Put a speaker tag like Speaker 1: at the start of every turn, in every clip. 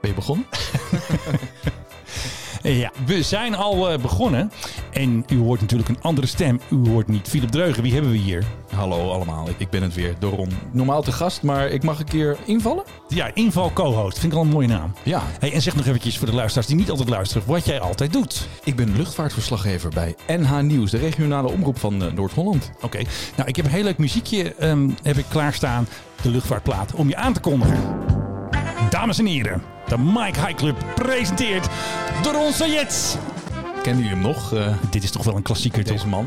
Speaker 1: Ben je begonnen? Ja, we zijn al eh, begonnen. En u hoort natuurlijk een andere stem. U hoort niet Philip Dreugen. Wie hebben we hier?
Speaker 2: Hallo allemaal, ik, ik ben het weer, Doron. Normaal te gast, maar ik mag een keer invallen?
Speaker 1: Ja, Inval Co-host. Vind ik al een mooie naam.
Speaker 2: Ja,
Speaker 1: Hey, en zeg nog eventjes voor de luisteraars die niet altijd luisteren, wat jij altijd doet.
Speaker 2: ik ben luchtvaartverslaggever bij NH Nieuws, de regionale omroep van eh, Noord-Holland.
Speaker 1: Oké, nou ik heb een heel leuk muziekje ehm, heb ik klaarstaan, de luchtvaartplaat, om je aan te kondigen. Dames en heren, de Mike High Club presenteert Doron Sayed.
Speaker 2: Kennen jullie hem nog, eh,
Speaker 1: Dit is toch wel een klassieker, toch?
Speaker 2: deze man?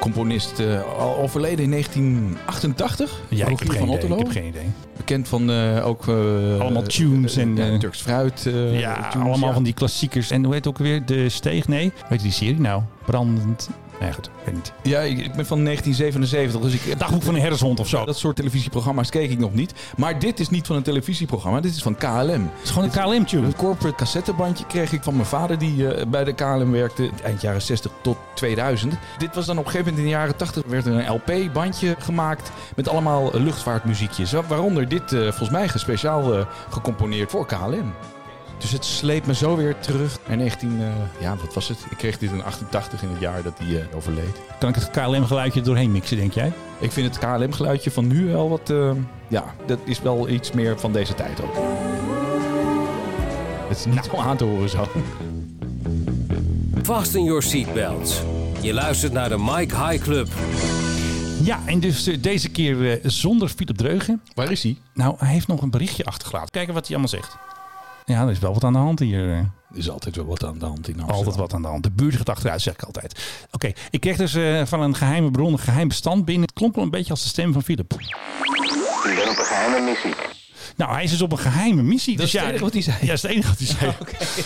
Speaker 2: Componist, eh, al overleden in 1988.
Speaker 1: Ja, ik
Speaker 2: Rogier
Speaker 1: heb, geen idee,
Speaker 2: Otterlo.
Speaker 1: ik heb geen idee.
Speaker 2: Bekend van eh, ook... eh,
Speaker 1: Allemaal tunes en,
Speaker 2: eh,
Speaker 1: eh,
Speaker 2: Turks Fruit. eh,
Speaker 1: ja,
Speaker 2: tunes,
Speaker 1: allemaal
Speaker 2: ja.
Speaker 1: van die klassiekers. En hoe heet het ook weer? De Steeg? Nee, hoe heet die serie nou? Brandend. Nee, goed, ik weet niet.
Speaker 2: Ja, ik, ik ben van 1977, dus ik...
Speaker 1: Dagboek van een herdershond of zo.
Speaker 2: Dat soort televisieprogramma's keek ik nog niet. Maar dit is niet van een televisieprogramma, dit is van KLM.
Speaker 1: Het is gewoon een KLM-tune.
Speaker 2: Een corporate cassettebandje kreeg ik van mijn vader die eh, bij de KLM werkte eind jaren 60 tot 2000. Dit was dan op een gegeven moment in de jaren 80 werd er een LP-bandje gemaakt met allemaal eh, luchtvaartmuziekjes. Wa- Waaronder dit eh, volgens mij speciaal eh, gecomponeerd voor KLM. Dus het sleept me zo weer terug naar 19... eh, ja, wat was het? Ik kreeg dit in 88 in het jaar dat hij eh, overleed.
Speaker 1: Kan ik het KLM-geluidje doorheen mixen, denk jij?
Speaker 2: Ik vind het KLM-geluidje van nu wel wat... eh, ja, dat is wel iets meer van deze tijd ook. Het is niet om aan te horen zo.
Speaker 3: Fasten your seatbelts. Je luistert naar de Mike High Club.
Speaker 1: Ja, en dus eh, deze keer eh, zonder Philip Dreugen.
Speaker 2: Waar is hij?
Speaker 1: Nou, hij heeft nog een berichtje achtergelaten. Kijken wat hij allemaal zegt. Ja, er is wel wat aan de hand hier. eh.
Speaker 2: Er is altijd wel wat aan de hand in Amsterdam.
Speaker 1: Altijd wat aan de hand. De buurt gaat achteruit, zeg ik altijd. Oké, ik kreeg dus eh, van een geheime bron een geheim bestand binnen. Het klonk wel een beetje als de stem van Philip.
Speaker 4: Ik ben op een geheime missie.
Speaker 1: Nou, hij is dus op een geheime missie.
Speaker 2: Dat is
Speaker 1: dus
Speaker 2: het
Speaker 1: ja,
Speaker 2: enige wat hij zei. Oh,
Speaker 1: Ja, dat is het enige wat hij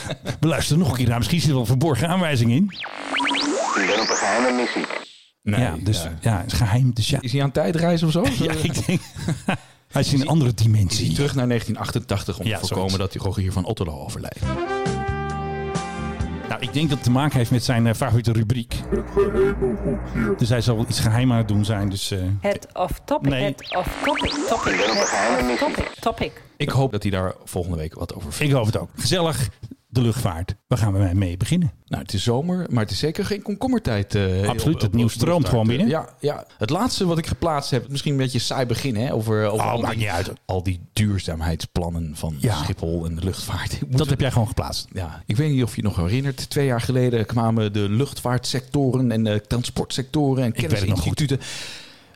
Speaker 1: zei. We luisteren nog een keer naar. Misschien zit er wel een verborgen aanwijzing in.
Speaker 4: Ik ben op een geheime missie.
Speaker 2: Nee,
Speaker 1: ja, dus ja. het is geheim. Dus ja.
Speaker 2: Is hij aan tijdreis of zo?
Speaker 1: ja, ik denk... hij is in een andere
Speaker 2: Is hij
Speaker 1: dimensie.
Speaker 2: terug naar 1988 om
Speaker 1: Ja,
Speaker 2: te voorkomen dat hij Rogier van Otterlo overlijdt?
Speaker 1: Nou, ik denk dat het te maken heeft met zijn eh, favoriete rubriek. Dus hij zal wel iets geheim aan het doen zijn. Dus, eh,
Speaker 5: Het of topic.
Speaker 1: Nee.
Speaker 5: Het of topic. Topic.
Speaker 4: ben op een geheime
Speaker 5: Het of
Speaker 4: missie.
Speaker 5: topic. Topic.
Speaker 2: Ik hoop dat hij daar volgende week wat over vindt.
Speaker 1: ik hoop het ook. Gezellig, de luchtvaart. Waar gaan we mee beginnen?
Speaker 2: Nou, het is zomer, maar het is zeker geen komkommertijd. eh,
Speaker 1: Absoluut, het nieuws
Speaker 2: de
Speaker 1: stroomt gewoon
Speaker 2: luchtvaart.
Speaker 1: binnen.
Speaker 2: Ja, ja, het laatste wat ik geplaatst heb, misschien een beetje saai begin, hè? Over, over
Speaker 1: Oh,
Speaker 2: al,
Speaker 1: maakt
Speaker 2: die,
Speaker 1: niet uit.
Speaker 2: al die duurzaamheidsplannen van
Speaker 1: Ja.
Speaker 2: Schiphol en de luchtvaart.
Speaker 1: Dat heb jij gewoon geplaatst.
Speaker 2: Ja, ik weet niet of je het nog herinnert. Twee jaar geleden kwamen de luchtvaartsectoren en de transportsectoren en
Speaker 1: weet het nog goed.
Speaker 2: kennisinstituten.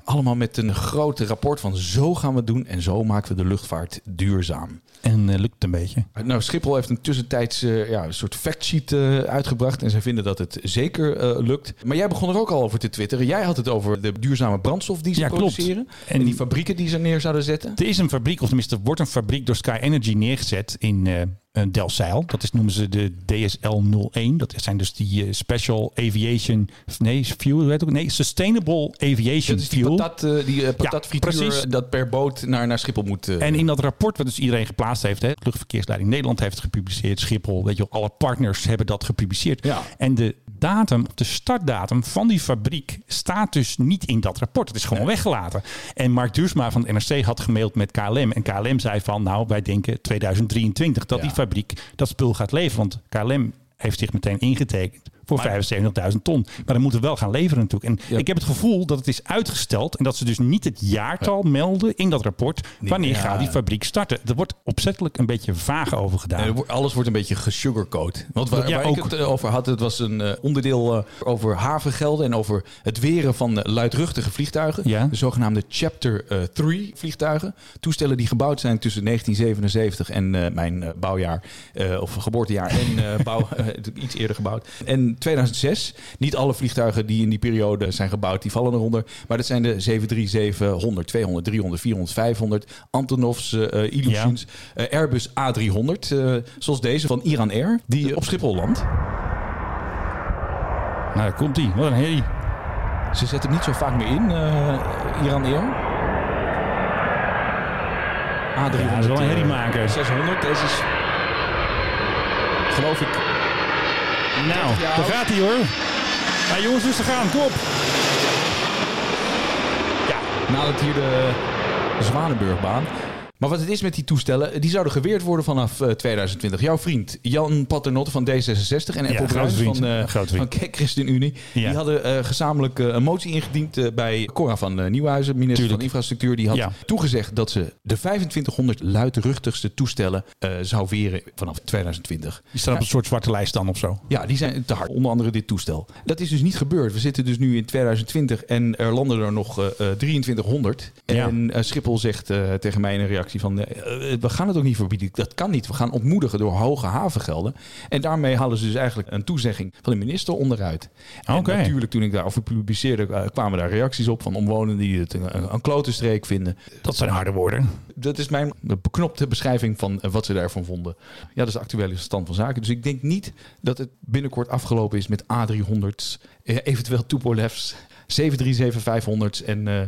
Speaker 2: Allemaal met een groot rapport van zo gaan we het doen en zo maken we de luchtvaart duurzaam.
Speaker 1: En eh, lukt het een beetje.
Speaker 2: Nou, Schiphol heeft een tussentijds eh, ja, een soort factsheet eh, uitgebracht en zij vinden dat het zeker eh, lukt. Maar jij begon er ook al over te twitteren. Jij had het over de duurzame brandstof die ze
Speaker 1: Ja, klopt.
Speaker 2: produceren en,
Speaker 1: En-
Speaker 2: die fabrieken die ze neer zouden zetten.
Speaker 1: Er is een fabriek, of tenminste er wordt een fabriek door Sky Energy neergezet in eh, eh, Delfzijl. Dat is, noemen ze de DSL-01. Dat zijn dus die eh, Special Aviation... Nee, fuel, hoe heet het ook? Nee, Sustainable Aviation
Speaker 2: Dat is die
Speaker 1: Fuel.
Speaker 2: patat, eh, die, eh, patatfrituur
Speaker 1: precies.
Speaker 2: dat per boot naar, naar Schiphol moet. eh,
Speaker 1: En in dat rapport, wat dus iedereen geplaatst heeft, hè, Luchtverkeersleiding Nederland heeft het gepubliceerd, Schiphol, weet je wel, alle partners hebben dat gepubliceerd.
Speaker 2: Ja.
Speaker 1: En de datum, de startdatum van die fabriek staat dus niet in dat rapport. Het is gewoon weggelaten. En Mark Duursma van het NRC had gemaild met KLM. En KLM zei van, nou, wij denken 2023 dat
Speaker 2: Ja.
Speaker 1: die fabriek dat spul gaat leveren. Want KLM heeft zich meteen ingetekend voor 75.000 ton. Maar dan moeten we wel gaan leveren natuurlijk. En
Speaker 2: Ja.
Speaker 1: ik heb het gevoel dat het is uitgesteld... en dat ze dus niet het jaartal melden in dat rapport... wanneer
Speaker 2: Ja.
Speaker 1: gaat die fabriek starten? Er wordt opzettelijk een beetje vaag over
Speaker 2: En er
Speaker 1: gedaan.
Speaker 2: wo- alles wordt een beetje gesugarcoat. Want waar,
Speaker 1: Ja,
Speaker 2: waar ik
Speaker 1: ook.
Speaker 2: het eh, over had, het was een eh, onderdeel eh, over havengelden en over het weren van eh, luidruchtige vliegtuigen. Dus
Speaker 1: Ja.
Speaker 2: De zogenaamde Chapter 3 vliegtuigen. Toestellen die gebouwd zijn tussen 1977 en eh, mijn eh, bouwjaar, eh, of geboortejaar, en eh, bouw, eh, iets eerder gebouwd. En 2006. Niet alle vliegtuigen die in die periode zijn gebouwd, die vallen eronder. Maar dat zijn de 737, 100, 200, 300, 400, 500, Antonovs, eh eh, Illusions. Eh, Airbus A300, eh, zoals deze van Iran Air, die op Schiphol landt.
Speaker 1: Nou, daar komt die. Wat een herrie.
Speaker 2: Ze zetten hem niet zo vaak meer in, eh, Iran Air. A300.
Speaker 1: Ja, dat is wel een
Speaker 2: eh,
Speaker 1: herriemaker.
Speaker 2: 600, deze is... Geloof ik.
Speaker 1: Nou, daar gaat hij hoor. Nou jongens, rustig gaan. Kom op. Ja,
Speaker 2: Nadat hier de Zwanenburgbaan. Maar wat het is met die toestellen, die zouden geweerd worden vanaf eh, 2020. Jouw vriend Jan Paternotte van D66 en Apple
Speaker 1: grote
Speaker 2: Bruins
Speaker 1: vriend.
Speaker 2: van, eh
Speaker 1: Grote
Speaker 2: van
Speaker 1: vriend.
Speaker 2: K- ChristenUnie,
Speaker 1: Ja.
Speaker 2: die hadden eh, gezamenlijk eh, een motie ingediend eh, bij Cora van eh, Nieuwhuizen, minister
Speaker 1: Tuurlijk.
Speaker 2: van Infrastructuur. Die had
Speaker 1: Ja.
Speaker 2: toegezegd dat ze de 2500 luidruchtigste toestellen eh, zou weren vanaf 2020.
Speaker 1: Die staan op een soort zwarte lijst dan of zo.
Speaker 2: Ja, die zijn te hard. Onder andere dit toestel. Dat is dus niet gebeurd. We zitten dus nu in 2020 en er landen er nog eh, eh, 2300.
Speaker 1: Ja.
Speaker 2: En eh, Schiphol zegt eh, tegen mij in een reactie van... eh, eh, we gaan het ook niet verbieden. Dat kan niet. We gaan ontmoedigen door hoge havengelden. En daarmee halen ze dus eigenlijk een toezegging van de minister onderuit. En
Speaker 1: Oké.
Speaker 2: natuurlijk toen ik daarover publiceerde... eh, kwamen daar reacties op van omwonenden die het een, een klote streek vinden.
Speaker 1: Dat zijn harde woorden.
Speaker 2: Dat is mijn beknopte beschrijving van eh, wat ze daarvan vonden. Ja, dat is de actuele stand van zaken. Dus ik denk niet dat het binnenkort afgelopen is met A300's, eh, eventueel Tupolev's, 737-500's en eh,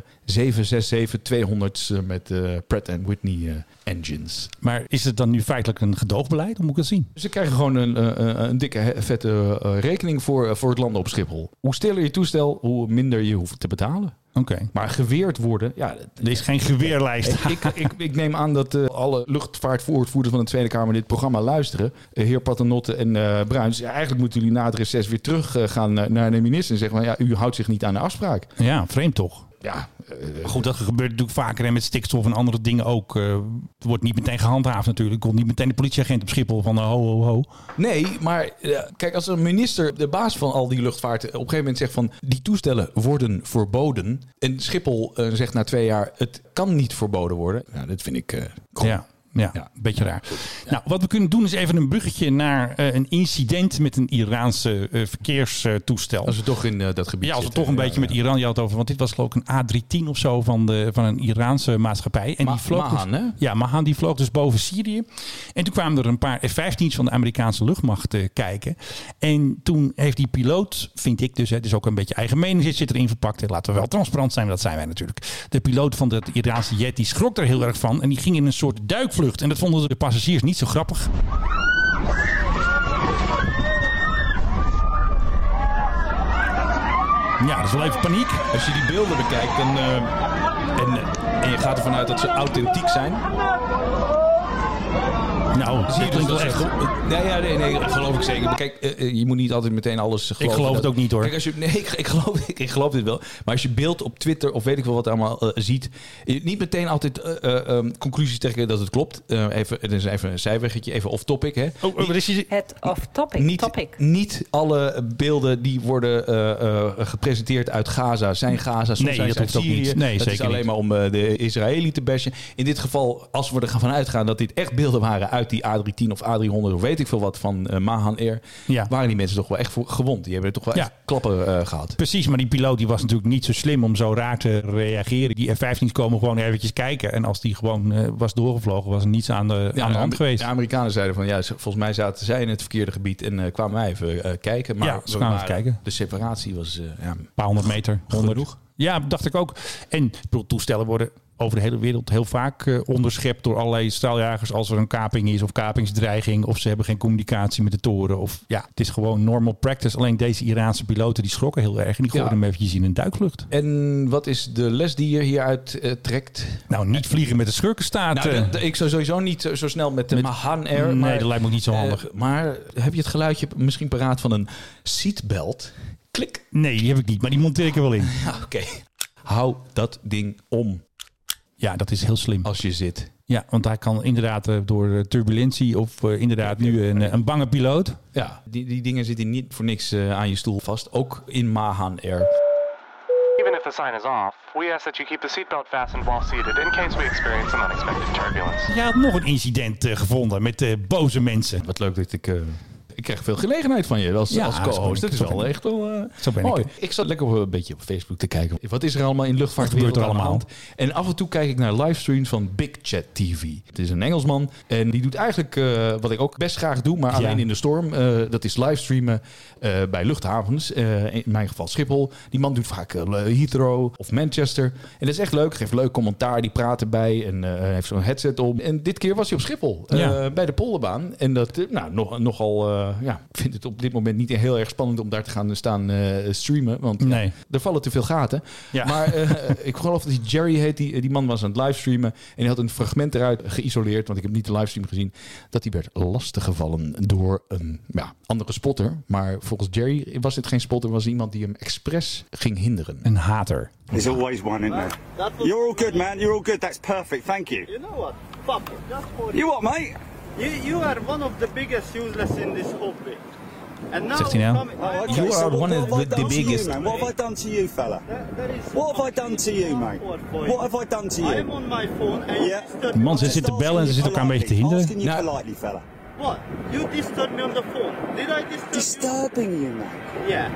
Speaker 2: 767-200's met eh, Pratt Whitney eh, engines.
Speaker 1: Maar is het dan nu feitelijk een gedoogbeleid? Hoe moet ik dat zien?
Speaker 2: Ze krijgen gewoon een, eh, eh, een dikke he- vette eh, rekening voor, eh, voor het landen op Schiphol. Hoe stiller je toestel, hoe minder je hoeft te betalen.
Speaker 1: Oké.
Speaker 2: Maar geweerd worden, ja,
Speaker 1: Er is geen geweerlijst.
Speaker 2: Ik, ik, ik, ik neem aan dat eh, alle luchtvaartvoorvoerders van de Tweede Kamer dit programma luisteren. Eh, heer Paternotte en eh, Bruins. Ja, eigenlijk moeten jullie na het reces weer terug eh, gaan eh, naar de minister en zeggen: van, ja, u houdt zich niet aan de afspraak.
Speaker 1: Ja, vreemd toch?
Speaker 2: Ja, eh,
Speaker 1: Maar goed, dat gebeurt natuurlijk vaker en met stikstof en andere dingen ook. eh, het wordt niet meteen gehandhaafd natuurlijk. Komt niet meteen de politieagent op Schiphol van eh, ho, ho, ho.
Speaker 2: nee, maar eh, kijk, als een minister, de baas van al die luchtvaart, eh, op een gegeven moment zegt van die toestellen worden verboden. En Schiphol eh, zegt na twee jaar: het kan niet verboden worden. Ja, dat vind ik. eh, krom.
Speaker 1: Ja. Ja,
Speaker 2: Ja.
Speaker 1: een beetje raar. Nou, wat we kunnen doen is even een buggetje naar eh, een incident met een Iraanse eh, verkeerstoestel.
Speaker 2: Als we toch in eh, dat gebied
Speaker 1: ja, als we
Speaker 2: zitten.
Speaker 1: toch een
Speaker 2: Ja,
Speaker 1: beetje met
Speaker 2: ja.
Speaker 1: Iran je had het over, want dit was geloof ik een A310 of zo van, de, van een Iraanse maatschappij. En
Speaker 2: Ma-
Speaker 1: die vloog
Speaker 2: Mahan,
Speaker 1: dus,
Speaker 2: hè?
Speaker 1: Ja, Mahan die vloog dus boven Syrië. En toen kwamen er een paar F-15's van de Amerikaanse luchtmacht eh, kijken. En toen heeft die piloot, vind ik dus, hè, het is ook een beetje eigen mening, zit, zit erin verpakt. En Laten we wel transparant zijn, want dat zijn wij natuurlijk. De piloot van dat Iraanse jet, die schrok er heel erg van. En die ging in een soort duikvlucht. En dat vonden de passagiers niet zo grappig. Ja, dat is wel even paniek.
Speaker 2: Als je die beelden bekijkt dan, eh, en, en je gaat ervan uit dat ze authentiek zijn. dus
Speaker 1: Nou, dat klinkt wel
Speaker 2: dat
Speaker 1: echt
Speaker 2: ze- Nee, ja, nee, nee, dat geloof ik zeker. Kijk, eh, eh, je moet niet altijd meteen alles geloven.
Speaker 1: geloof
Speaker 2: dat-
Speaker 1: het ook niet, hoor.
Speaker 2: Kijk, als je, nee, ik, ik geloof, ik, ik geloof dit wel. Maar als je beeld op Twitter of weet ik wel wat allemaal eh, ziet... je niet meteen altijd eh, eh, ehm, conclusies trekken dat het klopt. Eh, even, het is even een zijweggetje, even off-topic. hè.
Speaker 1: Oh, wat is die?
Speaker 5: Het off-topic.
Speaker 2: Niet,
Speaker 5: topic.
Speaker 2: niet alle beelden die worden eh, eh, gepresenteerd uit Gaza zijn Gaza. Soms
Speaker 1: Nee,
Speaker 2: zijn ze
Speaker 1: dat
Speaker 2: uit
Speaker 1: hoeft ook
Speaker 2: Syrië.
Speaker 1: niet. Nee,
Speaker 2: dat is
Speaker 1: zeker
Speaker 2: alleen
Speaker 1: niet.
Speaker 2: maar om eh, de Israëli te bashen. In dit geval, als we ervan uitgaan dat dit echt beelden waren uit die A310 of A300 of weet ik veel wat van eh, Mahan Air,
Speaker 1: Ja.
Speaker 2: waren die mensen toch wel echt voor- gewond. Die hebben er toch wel
Speaker 1: Ja.
Speaker 2: echt klappen eh, gehad.
Speaker 1: Precies, maar die piloot die was natuurlijk niet zo slim om zo raar te reageren. Die F-15's komen gewoon eventjes kijken. En als die gewoon eh, was doorgevlogen, was er niets aan de, aan de hand
Speaker 2: de-
Speaker 1: geweest.
Speaker 2: De Amerikanen zeiden van ja, ze- volgens mij zaten zij in het verkeerde gebied en eh, kwamen wij even eh, kijken. Maar
Speaker 1: Ja, ze
Speaker 2: we
Speaker 1: kwamen even
Speaker 2: waren-
Speaker 1: kijken.
Speaker 2: De separatie was eh, ja,
Speaker 1: Een paar honderd meter. Honderd.
Speaker 2: genoeg.
Speaker 1: Ja, dacht ik ook. En ik bedoel, toestellen worden over de hele wereld heel vaak eh, onderschept door allerlei straaljagers als er een kaping is of kapingsdreiging of ze hebben geen communicatie met de toren. Of ja, het is gewoon normal practice. Alleen deze Iraanse piloten die schrokken heel erg en die gooiden
Speaker 2: Ja.
Speaker 1: hem eventjes in een duikvlucht.
Speaker 2: En wat is de les die je hieruit eh, trekt?
Speaker 1: Nou, niet vliegen met de schurkenstaat.
Speaker 2: Nou,
Speaker 1: eh.
Speaker 2: dat- dat- ik zou sowieso niet zo, zo snel met eh, de
Speaker 1: Met-
Speaker 2: Mahan Air.
Speaker 1: nee,
Speaker 2: maar,
Speaker 1: dat lijkt me ook niet zo
Speaker 2: eh,
Speaker 1: handig.
Speaker 2: maar heb je het geluidje misschien paraat van een seatbelt? Klik.
Speaker 1: Nee, die heb ik niet, maar die monteer ik er wel in.
Speaker 2: Ja, Oké. Hou dat ding om
Speaker 1: Ja, dat is heel slim.
Speaker 2: als je zit.
Speaker 1: Ja, want hij kan inderdaad eh, door eh, turbulentie of eh, inderdaad nu een, eh, een bange piloot.
Speaker 2: Ja, die, die dingen zitten niet voor niks eh, aan je stoel vast. Ook in Mahan Air.
Speaker 6: Even if the sign is off, we ask that you keep the seatbelt fastened while seated in case we experience some unexpected turbulence.
Speaker 1: Jij had nog een incident eh, gevonden met eh, boze mensen.
Speaker 2: Wat leuk dat ik. eh, ik krijg veel gelegenheid van je als,
Speaker 1: Ja,
Speaker 2: als
Speaker 1: zo ben ik,
Speaker 2: co-host. Dat is
Speaker 1: zo ben
Speaker 2: wel
Speaker 1: ik.
Speaker 2: echt wel eh,
Speaker 1: Zo ben ik.
Speaker 2: mooi. Ik zat lekker op, eh, een beetje op Facebook te kijken. Wat is er allemaal in
Speaker 1: Wat
Speaker 2: luchtvaartwereld
Speaker 1: gebeurt er
Speaker 2: aan de
Speaker 1: allemaal?
Speaker 2: hand? En af en toe kijk ik naar livestreams van Big Chat TV. Het is een Engelsman en die doet eigenlijk eh, wat ik ook best graag doe, maar
Speaker 1: Ja.
Speaker 2: alleen in de storm. Eh, dat is livestreamen eh, bij luchthavens. Eh, in mijn geval Schiphol. Die man doet vaak eh, Heathrow of Manchester. En dat is echt leuk. Geeft leuk commentaar. Die praat erbij en eh, heeft zo'n headset om. En dit keer was hij op Schiphol. eh,
Speaker 1: Ja.
Speaker 2: bij de polderbaan. En dat, eh, nou, nog, nogal eh, eh, ja, ik vind het op dit moment niet heel erg spannend om daar te gaan eh, staan eh, streamen. Want ja,
Speaker 1: Nee.
Speaker 2: er vallen te veel gaten.
Speaker 1: Ja.
Speaker 2: Maar eh, ik geloof dat die Jerry heet, die, die man was aan het livestreamen. En die had een fragment eruit geïsoleerd, want ik heb niet de livestream gezien. Dat hij werd lastiggevallen door een ja, andere spotter. Maar volgens Jerry was dit geen spotter, was iemand die hem expres ging hinderen.
Speaker 1: Een hater.
Speaker 7: There's always one, isn't there? You're all good, man. You're all good. That's perfect. Thank you.
Speaker 8: You know what? Fuck it. Just for
Speaker 7: You what, mate?
Speaker 8: You, you are one of the biggest useless in this hobby. And now,
Speaker 1: 16 now.
Speaker 8: coming-
Speaker 7: Oh, okay.
Speaker 9: You
Speaker 7: so
Speaker 9: are
Speaker 7: what-
Speaker 9: one
Speaker 7: what
Speaker 9: of
Speaker 7: have I
Speaker 9: the
Speaker 7: done to you,
Speaker 9: biggest-
Speaker 7: man? What have I done to you, fella?
Speaker 8: There- there is-
Speaker 7: What have I done to you, mate? What have I done to you?
Speaker 8: I'm on my phone and
Speaker 7: Yeah.
Speaker 8: you disturb
Speaker 1: Die man
Speaker 8: me.
Speaker 1: zit te bellen en ze zitten elkaar een beetje te hinderen.
Speaker 7: Asking you
Speaker 2: Nou.
Speaker 7: politely, fella.
Speaker 8: What? You disturb me on the phone. Did I disturb
Speaker 7: Disturbing you, man.
Speaker 8: you? Yeah.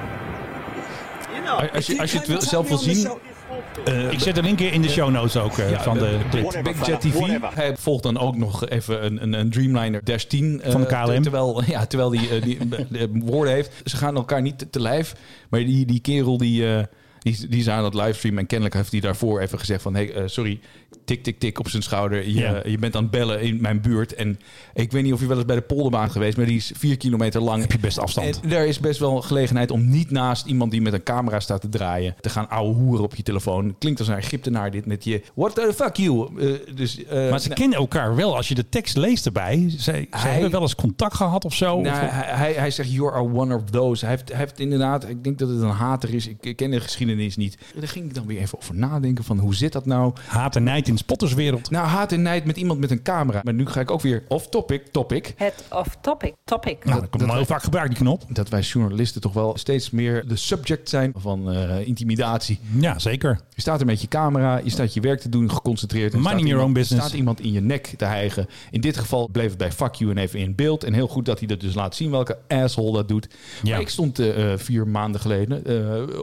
Speaker 8: You know,
Speaker 2: Als je, als je het wil-
Speaker 7: Tell
Speaker 2: zelf
Speaker 7: me
Speaker 2: wil
Speaker 7: on the
Speaker 2: zien,
Speaker 7: show-
Speaker 8: this hobby.
Speaker 1: Eh, Ik zet een linkje in de show notes ook eh, van de clip.
Speaker 7: Whatever,
Speaker 2: Big
Speaker 7: fella,
Speaker 2: Jet TV.
Speaker 7: whatever.
Speaker 2: Hij volgt dan ook nog even een, een, een Dreamliner Dash 10. eh,
Speaker 1: Van de KLM.
Speaker 2: ter- Terwijl, ja, terwijl die, eh, die eh, woorden heeft. Ze gaan elkaar niet te, te lijf. Maar die, die kerel die, eh, die, die is aan het livestreamen. En kennelijk heeft hij daarvoor even gezegd van... Hey, eh, sorry, tik, tik, tik op zijn schouder. Je,
Speaker 1: Ja.
Speaker 2: je bent aan het bellen in mijn buurt. En ik weet niet of je wel eens bij de polderbaan geweest... maar die is vier kilometer lang.
Speaker 1: Heb je best afstand.
Speaker 2: En er is best wel gelegenheid om niet naast iemand die met een camera staat te draaien te gaan ouwe hoeren op je telefoon. Klinkt als een Egyptenaar dit met je. What the fuck you? Eh, dus, eh,
Speaker 1: Maar ze
Speaker 2: nou,
Speaker 1: kennen elkaar wel. Als je de tekst leest erbij. Ze, ze
Speaker 2: Hij-
Speaker 1: hebben wel eens contact gehad of zo.
Speaker 2: nou,
Speaker 1: Of-
Speaker 2: hij, hij, hij zegt, you are one of those. Hij heeft, hij heeft inderdaad, ik denk dat het een hater is. Ik ken de geschiedenis niet. Daar ging ik dan weer even over nadenken van hoe zit dat nou?
Speaker 1: haat en nijd in de spotterswereld.
Speaker 2: Nou, haat en nijd met iemand met een camera. Maar nu ga ik ook weer off topic, topic.
Speaker 5: Het off-topic. Topic.
Speaker 1: Nou, dat komt wel heel vaak gebruikt, die knop.
Speaker 2: Dat wij journalisten toch wel steeds meer de subject zijn van eh, intimidatie.
Speaker 1: Ja, zeker.
Speaker 2: Je staat er met je camera, je staat je werk te doen, geconcentreerd. en
Speaker 1: Minding
Speaker 2: staat
Speaker 1: your own
Speaker 2: iemand-
Speaker 1: business.
Speaker 2: Staat iemand in je nek te hijgen. In dit geval bleef het bij fuck you en even in beeld. En heel goed dat hij dat dus laat zien welke asshole dat doet.
Speaker 1: Ja.
Speaker 2: Maar ik stond eh, eh, vier maanden geleden eh,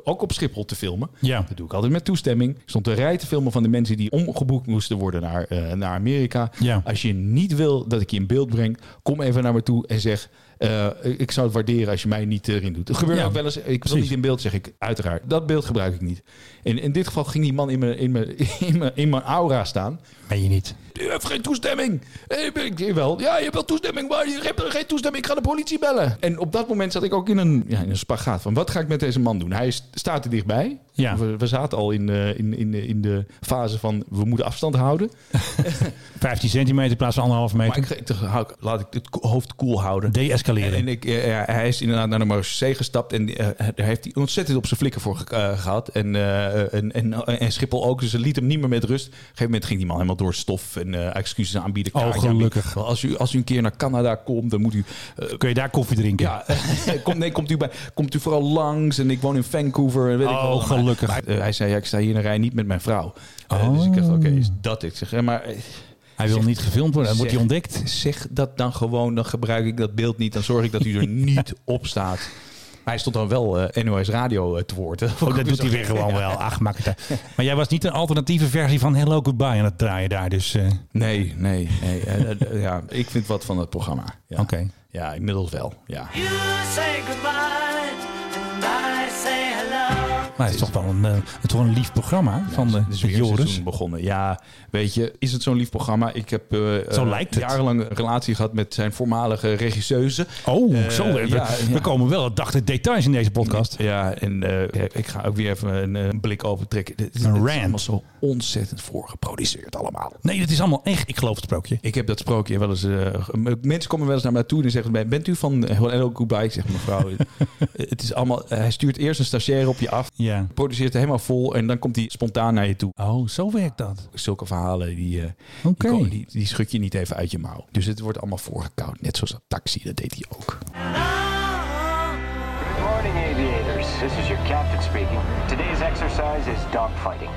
Speaker 2: ook op Schiphol te filmen.
Speaker 1: Ja.
Speaker 2: Dat doe ik altijd met toestemming. Ik stond een rij te filmen van de mensen die omgeboekt moesten worden naar, eh, naar Amerika.
Speaker 1: Ja.
Speaker 2: Als je niet wil dat ik je in beeld breng, kom even naar me toe en zeg... eh, ik zou het waarderen als je mij niet erin doet. Het gebeurt
Speaker 1: Ja.
Speaker 2: ook wel eens. Ik wil
Speaker 1: Precies.
Speaker 2: niet in beeld, zeg ik uiteraard. Dat beeld gebruik ik niet. En in dit geval ging die man in mijn, in mijn, in mijn, in mijn aura staan.
Speaker 1: Ben je niet.
Speaker 2: U heeft geen toestemming. Eh, Ik ik- jawel. Ja, je hebt wel toestemming, maar je hebt er geen toestemming. Ik ga de politie bellen. En op dat moment zat ik ook in een, ja, in een spagaat van wat ga ik met deze man doen? Hij is- staat er dichtbij.
Speaker 1: Ja.
Speaker 2: We, we zaten al in, eh, in, in, in de fase van we moeten afstand houden.
Speaker 1: 15 centimeter in plaats van anderhalve
Speaker 2: Maar
Speaker 1: meter.
Speaker 2: ik, ik dacht, hou ik- laat ik het ko- hoofd koel houden.
Speaker 1: Deescaleren.
Speaker 2: En ik, eh, ja, hij is inderdaad naar de Marseille gestapt en eh, daar heeft hij ontzettend op zijn flikken voor ge- eh, gehad. En, eh, en, en, en Schiphol ook, dus het liet hem niet meer met rust. Op een gegeven moment ging die man helemaal door stof en eh, excuses aanbieden.
Speaker 1: Oh,
Speaker 2: Kaartje
Speaker 1: gelukkig.
Speaker 2: aanbieden. Als u, als u een keer naar Canada komt, dan moet u... eh,
Speaker 1: Kun je daar koffie drinken?
Speaker 2: ja, komt, nee, komt u, bij, komt u vooral langs en ik woon in Vancouver. en Weet ik
Speaker 1: Oh,
Speaker 2: wel. Maar-
Speaker 1: gelukkig. Oh.
Speaker 2: maar, eh, hij zei, ja, ik sta hier in een rij niet met mijn vrouw. Eh, Dus ik dacht, oké, is dat het? Ik Zeg, ja, maar... eh,
Speaker 1: Hij wil niet gefilmd worden. Dan wordt hij
Speaker 2: Zeg-
Speaker 1: ontdekt.
Speaker 2: Zeg dat dan gewoon, dan gebruik ik dat beeld niet. Dan zorg ik dat u er niet op staat. Maar hij stond dan wel eh, NOS Radio eh, te woord. hè.
Speaker 1: Oh, dat doet hij weer gewoon wel. Ach, maak het uit. Maar jij was niet een alternatieve versie van Hello Goodbye aan het draaien daar. Dus eh,
Speaker 2: Nee, nee. nee Eh, eh, eh, ja, ik vind wat van het programma. Ja.
Speaker 1: Oké.
Speaker 2: Ja, inmiddels wel. Ja.
Speaker 1: maar het is toch wel een, eh, het is wel een lief programma van de,
Speaker 2: Het is
Speaker 1: de
Speaker 2: weer
Speaker 1: Joris.
Speaker 2: seizoen begonnen. Ja, weet je, is het zo'n lief programma? Ik heb eh,
Speaker 1: Zo
Speaker 2: eh,
Speaker 1: lijkt het.
Speaker 2: jarenlang een relatie gehad met zijn voormalige regisseuse.
Speaker 1: Oh,
Speaker 2: Eh,
Speaker 1: zo. We,
Speaker 2: ja,
Speaker 1: we
Speaker 2: ja.
Speaker 1: komen wel het dag de details in deze podcast.
Speaker 2: Ja, en eh, ik ga ook weer even een, eh, blik open trekken. Dit- dit
Speaker 1: Een
Speaker 2: is
Speaker 1: rant.
Speaker 2: allemaal zo ontzettend voorgeproduceerd allemaal.
Speaker 1: Nee, dat is allemaal echt. Ik geloof het sprookje.
Speaker 2: Ik heb dat sprookje wel eens. eh, ge- mensen komen wel eens naar mij toe en zeggen: bij- Bent u van eh, Hello Goodbye? Ik zeg: Mevrouw, het is allemaal. hij stuurt eerst een stagiair op je af,
Speaker 1: Ja.
Speaker 2: produceert het helemaal vol en dan komt hij spontaan naar je toe.
Speaker 1: Oh, zo werkt dat.
Speaker 2: Zulke verhalen die, eh, die
Speaker 1: Oké.
Speaker 2: komen- die, die schud je niet even uit je mouw. Dus het wordt allemaal voorgekoud. Net zoals dat taxi, dat deed hij ook.
Speaker 10: Good morning, aviators. This is your captain speaking. Today's exercise is dogfighting.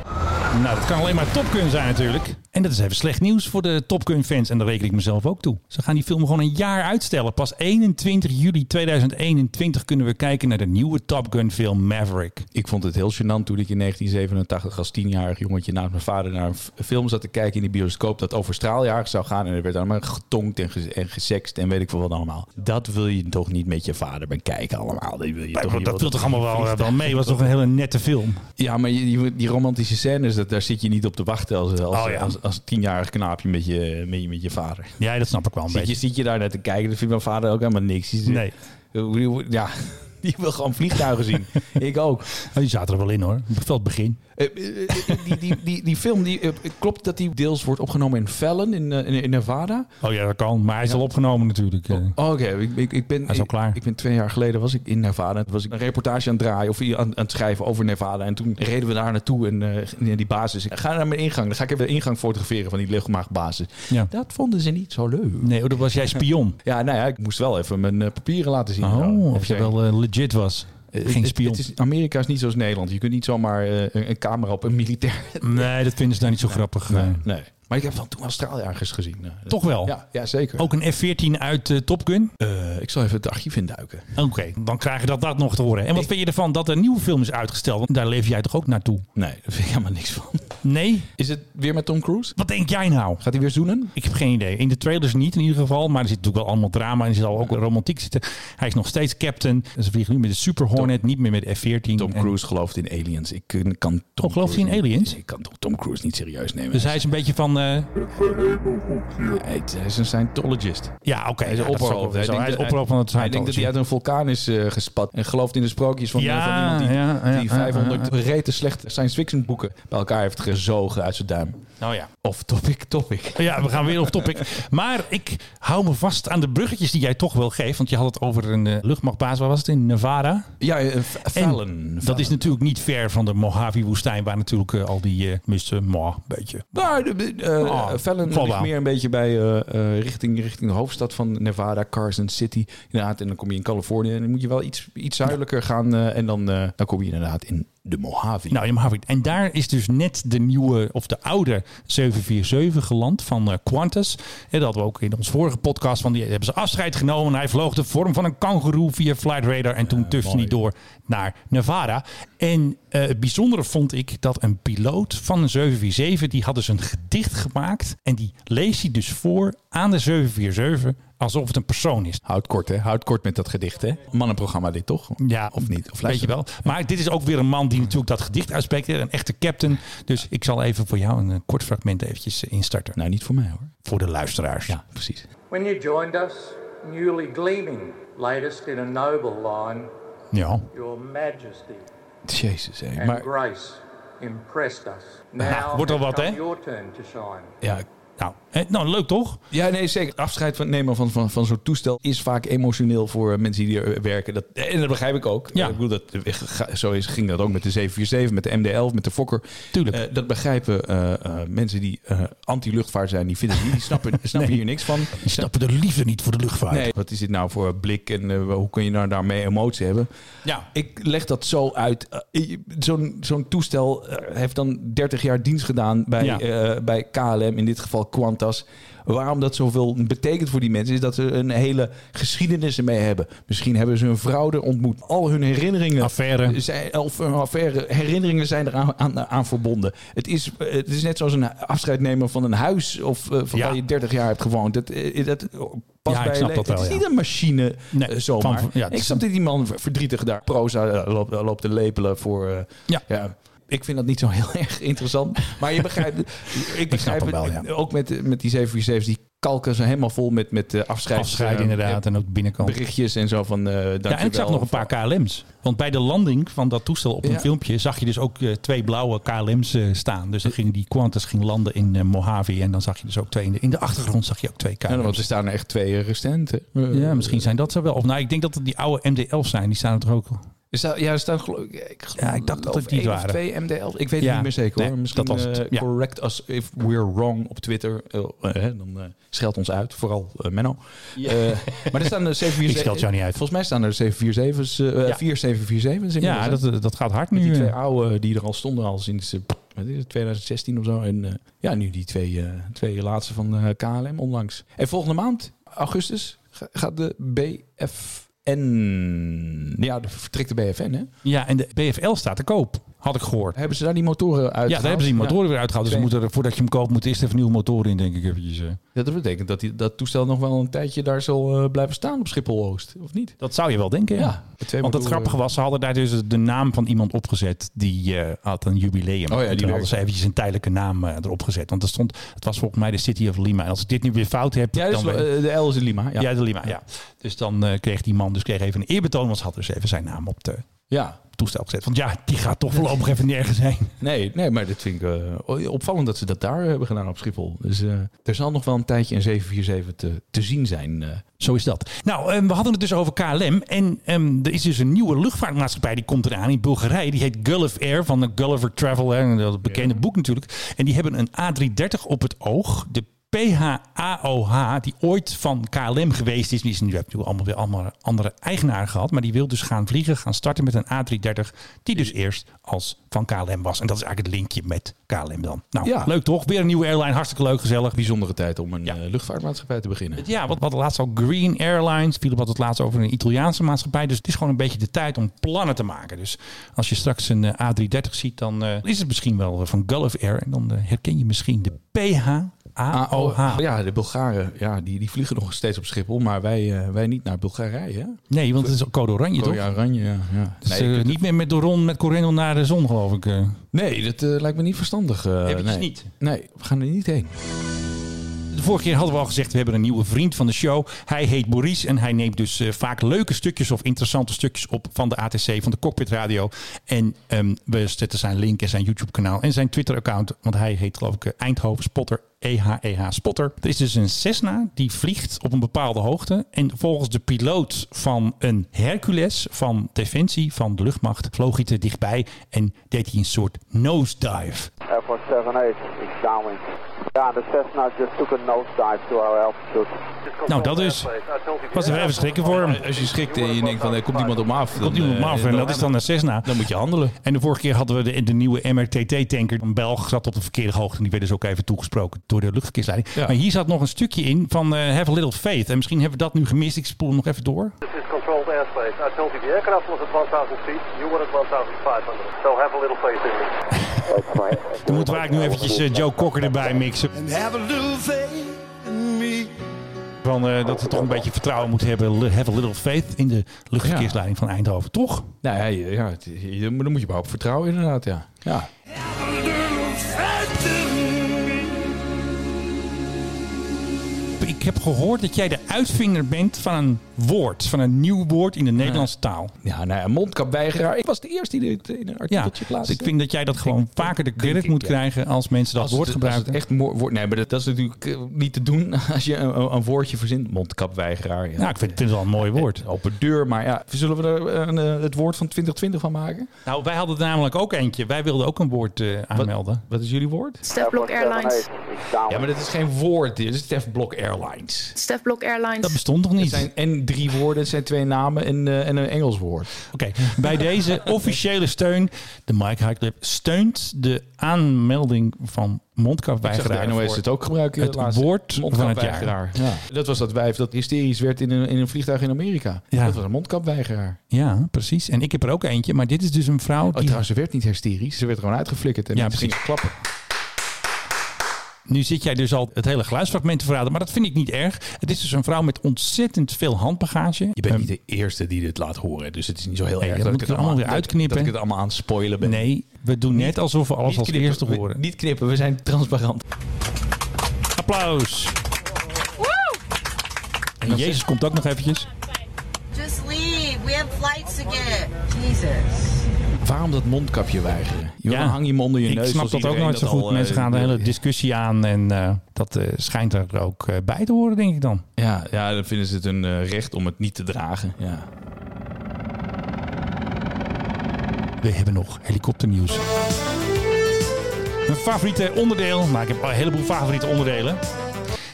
Speaker 1: Nou, dat kan alleen maar topkun zijn natuurlijk. En dat is even slecht nieuws voor de topkun fans. En daar reken ik mezelf ook toe. Ze gaan die film gewoon een jaar uitstellen. Pas 21 juli 2021 kunnen we kijken naar de nieuwe Top Gun film Maverick.
Speaker 2: Ik vond het heel gênant toen ik in 1987 als tienjarig jongetje naast mijn vader naar een f- film zat te kijken in die bioscoop dat over straaljagers zou gaan. En er werd allemaal getonkt en, ge en gesext en weet ik veel wat allemaal. Dat wil je toch niet met je vader bekijken allemaal. Dat wil je je toch niet
Speaker 1: dat viel
Speaker 2: wil
Speaker 1: toch allemaal wel, wel mee. was toch een hele nette film.
Speaker 2: Ja, maar je- die, die romantische scènes, dat, daar zit je niet op te wachten als, als,
Speaker 1: Oh ja.
Speaker 2: als, als tienjarig knaapje met je, met je, met je vader.
Speaker 1: Ja, dat snap ik wel een
Speaker 2: Zit je,
Speaker 1: beetje.
Speaker 2: zit je daar naar te kijken, dat vindt mijn vader ook helemaal niks. Die zit-
Speaker 1: Nee.
Speaker 2: Ik bedoel, Ja, die wil gewoon vliegtuigen zien. ik ook.
Speaker 1: Oh, die zaten er wel in hoor. Veel het begin.
Speaker 2: Eh, eh, eh, die, die, die, die film, die, eh, klopt dat die deels wordt opgenomen in Fallon, in, eh, in, in Nevada?
Speaker 1: Oh ja, dat kan. Maar hij is al opgenomen natuurlijk. eh.
Speaker 2: Oh, Oké, ik, ik, ik ben.
Speaker 1: is al
Speaker 2: ik-
Speaker 1: klaar.
Speaker 2: Ik, ben twee jaar geleden was ik in Nevada. Toen Was ik een reportage aan het draaien of aan, aan het schrijven over Nevada. En toen reden we daar naartoe en eh, in die basis. Ik ga naar mijn ingang. Dan ga ik even de ingang fotograferen van die luchtmachtbasis.
Speaker 1: Ja.
Speaker 2: Dat vonden ze niet zo leuk.
Speaker 1: Nee, oh, dat was jij spion.
Speaker 2: Ja, nou ja, ik moest wel even mijn eh, papieren laten zien.
Speaker 1: Oh,
Speaker 2: Nou,
Speaker 1: of je
Speaker 2: even-
Speaker 1: wel eh, legit was.
Speaker 2: Eh,
Speaker 1: Geen
Speaker 2: het-
Speaker 1: spion.
Speaker 2: het is, Amerika is niet zoals Nederland. Je kunt niet zomaar eh, een, een camera op een militair.
Speaker 1: Nee, dat vinden ze daar niet zo grappig. eh.
Speaker 2: Nee. Maar ik heb van toen straaljagers gezien. Eh,
Speaker 1: Toch wel?
Speaker 2: Ja, ja zeker.
Speaker 1: Ook een F-14 uit eh, Top Gun?
Speaker 2: Eh, ik zal even het archief induiken.
Speaker 1: Oké, dan krijg je dat, dat nog te horen. En wat vind je ervan dat er een nieuwe film is uitgesteld? Want daar leef jij toch ook naartoe?
Speaker 2: Nee, daar vind ik helemaal niks van.
Speaker 1: Nee?
Speaker 2: Is het weer met Tom Cruise?
Speaker 1: Wat denk jij nou?
Speaker 2: Gaat hij weer zoenen?
Speaker 1: Ik heb geen idee. In de trailers niet in ieder geval. Maar er zit natuurlijk wel allemaal drama. En er zit al ook wel romantiek zitten. Hij is nog steeds captain. Ze vliegen nu met de Super Hornet. Niet meer met de F-14.
Speaker 2: Tom
Speaker 1: En-
Speaker 2: Cruise gelooft in aliens. Ik kun- kan Tom
Speaker 1: Oh, gelooft
Speaker 2: Cruise
Speaker 1: hij in
Speaker 2: niet-
Speaker 1: aliens?
Speaker 2: Ik kan Tom- Tom Cruise niet serieus nemen.
Speaker 1: Dus hij is een beetje van... eh,
Speaker 2: hij, hij is een Scientologist.
Speaker 1: ja, oké.
Speaker 2: Hij is
Speaker 1: ja,
Speaker 2: een
Speaker 1: dat zal
Speaker 2: oproper.
Speaker 1: wel weer zo. Hij is de oproep van het
Speaker 2: Hij denkt dat hij uit een vulkaan is eh, gespat. En gelooft in de sprookjes van,
Speaker 1: Ja,
Speaker 2: van iemand die,
Speaker 1: ja, ja,
Speaker 2: die
Speaker 1: ja,
Speaker 2: 500 rete slechte science fiction boeken bij elkaar heeft gezogen uit zijn duim.
Speaker 1: Oh ja.
Speaker 2: Of topic, topic.
Speaker 1: Ja, we gaan weer op topic. Maar ik hou me vast aan de bruggetjes die jij toch wel geeft. Want je had het over een eh, luchtmachtbaas. Waar was het? In Nevada?
Speaker 2: Ja, eh, F-
Speaker 1: En
Speaker 2: Fallon.
Speaker 1: dat
Speaker 2: Fallon.
Speaker 1: is natuurlijk niet ver van de Mojave-woestijn, waar natuurlijk eh, al die eh misten, maar beetje.
Speaker 2: Nou, de- de- eh,
Speaker 1: Oh,
Speaker 2: Fallon
Speaker 1: val
Speaker 2: ligt
Speaker 1: wel.
Speaker 2: meer een beetje bij eh, eh, richting, richting de hoofdstad van Nevada, Carson City. Inderdaad, en dan kom je in Californië en dan moet je wel iets, iets zuidelijker gaan. eh, en dan, eh, dan kom je inderdaad in de Mojave.
Speaker 1: Nou, in Mojave. En daar is dus net de nieuwe, of de oude 747 geland van eh, Qantas. En dat hadden we ook in onze vorige podcast, van die hebben ze afscheid genomen. Hij vloog de vorm van een kangeroe via Flight Radar en toen tufte hij door naar Nevada. En eh, het bijzondere vond ik dat een piloot van een 747, die had dus een gedicht gemaakt. En die leest hij dus voor aan de 747, alsof het een persoon is.
Speaker 2: Houd kort, hè? Houd kort met dat gedicht, hè? Mannenprogramma dit, toch?
Speaker 1: Ja,
Speaker 2: Of niet? Of
Speaker 1: weet je
Speaker 2: luister-
Speaker 1: wel. Maar dit is ook weer een man die natuurlijk dat gedicht uitspreekt. hè, Een echte captain. Dus ik zal even voor jou een eh, kort fragment eventjes eh, instarten.
Speaker 2: Nou, niet voor mij, hoor.
Speaker 1: Voor de luisteraars.
Speaker 2: Ja, precies.
Speaker 9: When you joined us, newly gleaming, latest in a noble line,
Speaker 1: Ja.
Speaker 9: your majesty
Speaker 2: Jezus, hè.
Speaker 9: and
Speaker 2: Maar
Speaker 9: grace impressed us.
Speaker 1: Nou,
Speaker 9: Now
Speaker 1: wordt al
Speaker 9: has
Speaker 1: wat,
Speaker 9: come
Speaker 1: hè?
Speaker 9: your turn to shine.
Speaker 2: ja...
Speaker 1: Nou, eh, nou, leuk toch?
Speaker 2: Ja, nee, zeker. Afscheid van, nemen van, van, van zo'n toestel is vaak emotioneel voor eh, mensen die er eh, werken. Dat, en dat begrijp ik ook.
Speaker 1: Ja.
Speaker 2: Ik bedoel, dat, eh, ga- zo is, ging dat ook met de 747, met de MD-11, met de Fokker.
Speaker 1: Tuurlijk.
Speaker 2: Eh, dat begrijpen eh, eh, mensen die eh, anti-luchtvaart zijn, die, vinden, het niet, die snappen, snappen hier niks van.
Speaker 1: Die snappen de liefde niet voor de luchtvaart.
Speaker 2: Nee, wat is dit nou voor blik en eh, hoe kun je nou daarmee emotie hebben?
Speaker 1: Ja.
Speaker 2: Ik leg dat zo uit. Eh, je- Zo'n zo'n toestel eh, heeft dan 30 jaar dienst gedaan bij,
Speaker 1: Ja.
Speaker 2: eh, bij KLM, in dit geval Qantas. Waarom dat zoveel betekent voor die mensen, is dat ze een hele geschiedenis ermee hebben. Misschien hebben ze hun fraude ontmoet. Al hun herinneringen.
Speaker 1: Affaire.
Speaker 2: Zijn, of hun affaire, herinneringen zijn eraan aan, aan verbonden. Het is, eh, het is net zoals een afscheid nemen van een huis of eh, van
Speaker 1: Ja.
Speaker 2: waar je 30 jaar hebt gewoond. Dat, eh, dat past
Speaker 1: Ja,
Speaker 2: bij
Speaker 1: ik
Speaker 2: je
Speaker 1: snap
Speaker 2: le-
Speaker 1: dat wel,
Speaker 2: Het is
Speaker 1: ja.
Speaker 2: niet een machine
Speaker 1: Nee,
Speaker 2: eh, zomaar.
Speaker 1: van- ja, het
Speaker 2: ik
Speaker 1: is
Speaker 2: snap dat die man verdrietig daar proza eh, loopt, loopt te lepelen voor... eh,
Speaker 1: Ja.
Speaker 2: Ik vind dat niet zo heel erg interessant. Maar je begrijpt... ik begrijp
Speaker 1: hem
Speaker 2: het
Speaker 1: wel, ja.
Speaker 2: ook met, met die 747's. Die kalken ze helemaal vol met, met eh, afscheids...
Speaker 1: Afscheid
Speaker 2: eh,
Speaker 1: inderdaad. En ook binnenkant.
Speaker 2: Berichtjes en zo van... eh
Speaker 1: Ja, en ik zag nog een paar KLM's. Want bij de landing van dat toestel op een
Speaker 2: Ja.
Speaker 1: filmpje zag je dus ook eh, twee blauwe KLM's eh, staan. Dus dan ging die Qantas ging landen in eh, Mojave. En dan zag je dus ook twee. In de, in de achtergrond zag je ook twee
Speaker 2: Ja, want
Speaker 1: KLM's.
Speaker 2: er staan er echt twee eh, recenten. Eh,
Speaker 1: Ja, misschien zijn dat ze wel. Of nou, ik denk dat het die oude MD-11 zijn. Die staan er toch ook al.
Speaker 2: Er staan- ja, er staan geloof ik... Ik, geloof
Speaker 1: Ja, ik dacht dat het die
Speaker 2: één of
Speaker 1: waren.
Speaker 2: twee MDL. Ik weet
Speaker 1: Ja.
Speaker 2: het niet meer zeker
Speaker 1: Nee,
Speaker 2: hoor. Misschien
Speaker 1: dat was het.
Speaker 2: eh,
Speaker 1: Ja.
Speaker 2: correct us if we're wrong op Twitter. Eh, eh, dan eh, scheld ons uit. Vooral eh, Menno. Eh, maar er staan er 747...
Speaker 1: Ik scheld jou niet uit.
Speaker 2: Volgens mij staan er 747's. eh
Speaker 1: Ja.
Speaker 2: 4747's
Speaker 1: Ja,
Speaker 2: inmiddels, hè?
Speaker 1: dat, dat gaat hard
Speaker 2: Met
Speaker 1: nu.
Speaker 2: die twee
Speaker 1: eh.
Speaker 2: oude die er al stonden al sinds eh, wat is het, 2016 of zo. En eh, ja, nu die twee, eh, twee laatste van eh, KLM onlangs. En volgende maand, augustus, ga- gaat de BFN... Ja, de vertrekt de BFN, hè?
Speaker 1: Ja, en de BFL staat te koop. Had ik gehoord.
Speaker 2: Hebben ze daar die motoren uit?
Speaker 1: Ja, daar hebben ze die motoren weer uitgehaald. Dus
Speaker 2: Twee.
Speaker 1: moeten er, voordat je hem koopt, moet eerst even nieuwe motoren in, denk ik. Eventjes. eh.
Speaker 2: Dat betekent dat die, dat toestel nog wel een tijdje daar zal eh, blijven staan op Schiphol-Oost, of niet?
Speaker 1: Dat zou je wel denken, ja.
Speaker 2: Ja, met twee
Speaker 1: Want het
Speaker 2: motoren.
Speaker 1: grappige was, ze hadden daar dus de naam van iemand opgezet die eh, had een jubileum.
Speaker 2: Oh ja, die
Speaker 1: en toen hadden
Speaker 2: werkt.
Speaker 1: ze eventjes een tijdelijke naam eh, erop gezet. Want er stond, het was volgens mij de City of Lima. En als ik dit nu weer fout heb,
Speaker 2: Ja,
Speaker 1: dan...
Speaker 2: dus,
Speaker 1: weet-
Speaker 2: eh, de L is in Lima. Ja.
Speaker 1: ja, de Lima, ja. Dus dan eh, kreeg die man dus kreeg even een eerbetoon, want ze had dus even zijn naam op het
Speaker 2: Ja.
Speaker 1: toestel gezet. Want ja, die gaat toch voorlopig even nergens heen.
Speaker 2: Nee, nee, maar dat vind ik eh, opvallend dat ze dat daar hebben gedaan op Schiphol. Dus eh, er zal nog wel een tijdje een 747 te, te zien zijn. eh.
Speaker 1: Zo is dat. Nou, ehm, we hadden het dus over KLM. En ehm, er is dus een nieuwe luchtvaartmaatschappij die komt eraan in Bulgarije. Die heet Gulf Air van de Gulliver Travel. Hè, dat bekende boek natuurlijk. En die hebben een A330 op het oog. De PHAOH, die ooit van KLM geweest is. Die is nu die heeft natuurlijk allemaal weer allemaal andere eigenaren gehad. Maar die wil dus gaan vliegen, gaan starten met een A330. Die dus eerst als van KLM was. En dat is eigenlijk het linkje met KLM dan. Nou,
Speaker 2: Ja.
Speaker 1: leuk toch? Weer een nieuwe airline. Hartstikke leuk, gezellig.
Speaker 2: bijzondere tijd om een eh, luchtvaartmaatschappij te beginnen.
Speaker 1: Ja, wat, wat laatst al Green Airlines. Philip had het laatst over een Italiaanse maatschappij. Dus het is gewoon een beetje de tijd om plannen te maken. Dus als je straks een eh, A330 ziet, dan eh, is het misschien wel eh, van Gulf Air. En dan eh, herken je misschien de PHAOH.
Speaker 2: Ah, oh, Ja, de Bulgaren ja, die, die vliegen nog steeds op Schiphol, maar wij, eh, wij niet naar Bulgarije. hè?
Speaker 1: Nee, want het is code oranje, toch?
Speaker 2: Code Oranje, ja. ja.
Speaker 1: Dus,
Speaker 2: Nee,
Speaker 1: eh,
Speaker 2: je kunt-
Speaker 1: niet meer met Doron, met Corendon naar de zon, geloof ik. eh.
Speaker 2: nee, dat eh, lijkt me niet verstandig. eh,
Speaker 1: Eventjes
Speaker 2: nee.
Speaker 1: niet.
Speaker 2: Nee, we gaan er niet heen.
Speaker 1: De vorige keer hadden we al gezegd, we hebben een nieuwe vriend van de show. Hij heet Maurice en hij neemt dus eh, vaak leuke stukjes of interessante stukjes op van de ATC, van de Cockpit Radio. En ehm, we zetten zijn link en zijn YouTube-kanaal en zijn Twitter-account, want hij heet geloof ik eh, Eindhoven Spotter. E EHEH Spotter. Er is dus een Cessna die vliegt op een bepaalde hoogte. En volgens de piloot van een Hercules van Defensie, van de luchtmacht, vloog hij te dichtbij en deed hij een soort nosedive.
Speaker 7: F178 is downwind. Yeah, the Cessna just took a nosedive to our altitude.
Speaker 1: Nou, dat is. Was er even schrikken voor hem.
Speaker 2: Als je schrikt en je denkt van, er komt iemand op me af. eh,
Speaker 1: Komt iemand maar af en dat is dan een Cessna.
Speaker 2: Dan moet je handelen.
Speaker 1: En de vorige keer hadden we de, de nieuwe MRTT-tanker. Een Belg zat op de verkeerde hoogte. En die werd dus ook even toegesproken door de luchtverkeersleiding.
Speaker 2: Ja.
Speaker 1: Maar hier zat nog een stukje in van eh, Have a Little Faith. En misschien hebben we dat nu gemist. Ik spoel hem nog even door.
Speaker 8: This is controlled airspace. I told you the aircraft was at 1,000 feet. You were at 1,500. So have a little faith in me.
Speaker 1: Dan moeten we eigenlijk nu eventjes eh, Joe Cocker erbij mixen. Van, eh, dat we toch een beetje vertrouwen moeten hebben. Li- Have a little faith in de luchtverkeersleiding van Eindhoven. Toch?
Speaker 2: Nou ja, je- ja het- je- je- dan moet je überhaupt vertrouwen inderdaad, ja. ja.
Speaker 1: Ik heb gehoord dat jij de uitvinder bent van een woord. Van een nieuw woord in de Nederlandse taal.
Speaker 2: Ja, nou ja, mondkapweigeraar. Ik was de eerste die dit in een
Speaker 1: Ja,
Speaker 2: artikeltje
Speaker 1: dus
Speaker 2: plaatste.
Speaker 1: ik vind dat jij dat gewoon vaker de
Speaker 2: denk
Speaker 1: credit
Speaker 2: ik,
Speaker 1: moet
Speaker 2: ja.
Speaker 1: krijgen als mensen dat
Speaker 2: Als
Speaker 1: woord
Speaker 2: het-
Speaker 1: gebruiken.
Speaker 2: als het echt mo- woord, nee, maar dat, dat is natuurlijk eh, niet te doen als je een, een woordje verzint. Mondkapweigeraar. Ja.
Speaker 1: Nou, ik vind, vind het wel een mooi woord.
Speaker 2: Open deur, maar ja, zullen we er eh, een, eh, het woord van 2020 van maken?
Speaker 1: Nou, wij hadden er namelijk ook eentje. Wij wilden ook een woord eh, aanmelden.
Speaker 2: Wat is jullie woord?
Speaker 11: Stefblok Airlines.
Speaker 2: Ja, maar dat is geen woord. Dit is Stef Blok Airlines.
Speaker 11: Stefblok
Speaker 1: Dat
Speaker 11: Airlines.
Speaker 1: bestond nog
Speaker 2: Het
Speaker 1: niet.
Speaker 2: zijn en drie woorden, het zijn twee namen en, eh, en een Engels woord.
Speaker 1: Oké, bij deze officiële steun, de Mike High Club steunt de aanmelding van mondkapweigeraar.
Speaker 2: de NOS
Speaker 1: voor-
Speaker 2: het ook gebruiken.
Speaker 1: het
Speaker 2: laatst.
Speaker 1: woord van het jaar.
Speaker 2: Mondkapweigeraar. Ja. Dat was dat wijf dat hysterisch werd in een, in een vliegtuig in Amerika.
Speaker 1: Ja.
Speaker 2: Dat was een mondkapweigeraar.
Speaker 1: Ja, precies. En ik heb er ook eentje, maar dit is dus een vrouw
Speaker 2: Oh,
Speaker 1: die...
Speaker 2: trouwens, ze werd niet hysterisch. Ze werd gewoon uitgeflikkerd en
Speaker 1: Ja,
Speaker 2: mensen gingen klappen.
Speaker 1: Nu zit jij dus al het hele geluidsfragment te verraden, maar dat vind ik niet erg. Het is dus een vrouw met ontzettend veel handbagage.
Speaker 2: Je bent
Speaker 1: Ehm,
Speaker 2: niet de eerste die dit laat horen. Dus het is niet zo heel
Speaker 1: Nee,
Speaker 2: erg
Speaker 1: dat
Speaker 2: ik
Speaker 1: moet
Speaker 2: het
Speaker 1: ik allemaal weer
Speaker 2: aan- dat-
Speaker 1: uitknippen.
Speaker 2: Dat, ik het allemaal aan het spoilen ben.
Speaker 1: Nee, we doen net alsof we alles
Speaker 2: Niet
Speaker 1: als
Speaker 2: knippen,
Speaker 1: eerste
Speaker 2: we-
Speaker 1: horen.
Speaker 2: Niet knippen, we zijn transparant.
Speaker 1: Applaus. En Jezus komt ook nog eventjes.
Speaker 11: Just leave. We have flights to get. Jesus.
Speaker 2: Waarom dat mondkapje weigeren? Je
Speaker 1: Ja.
Speaker 2: hang je hem onder je
Speaker 1: Ik
Speaker 2: neus.
Speaker 1: snap
Speaker 2: als
Speaker 1: dat ook
Speaker 2: iedereen
Speaker 1: nooit zo
Speaker 2: dat
Speaker 1: goed.
Speaker 2: al,
Speaker 1: Mensen
Speaker 2: eh,
Speaker 1: gaan de hele
Speaker 2: ja.
Speaker 1: discussie aan en eh, dat eh, schijnt er ook eh, bij te horen, denk ik dan.
Speaker 2: Ja, ja, dan vinden ze het hun eh, recht om het niet te dragen. Ja.
Speaker 1: We hebben nog helikopternieuws. Mijn favoriete onderdeel, maar ik heb een heleboel favoriete onderdelen.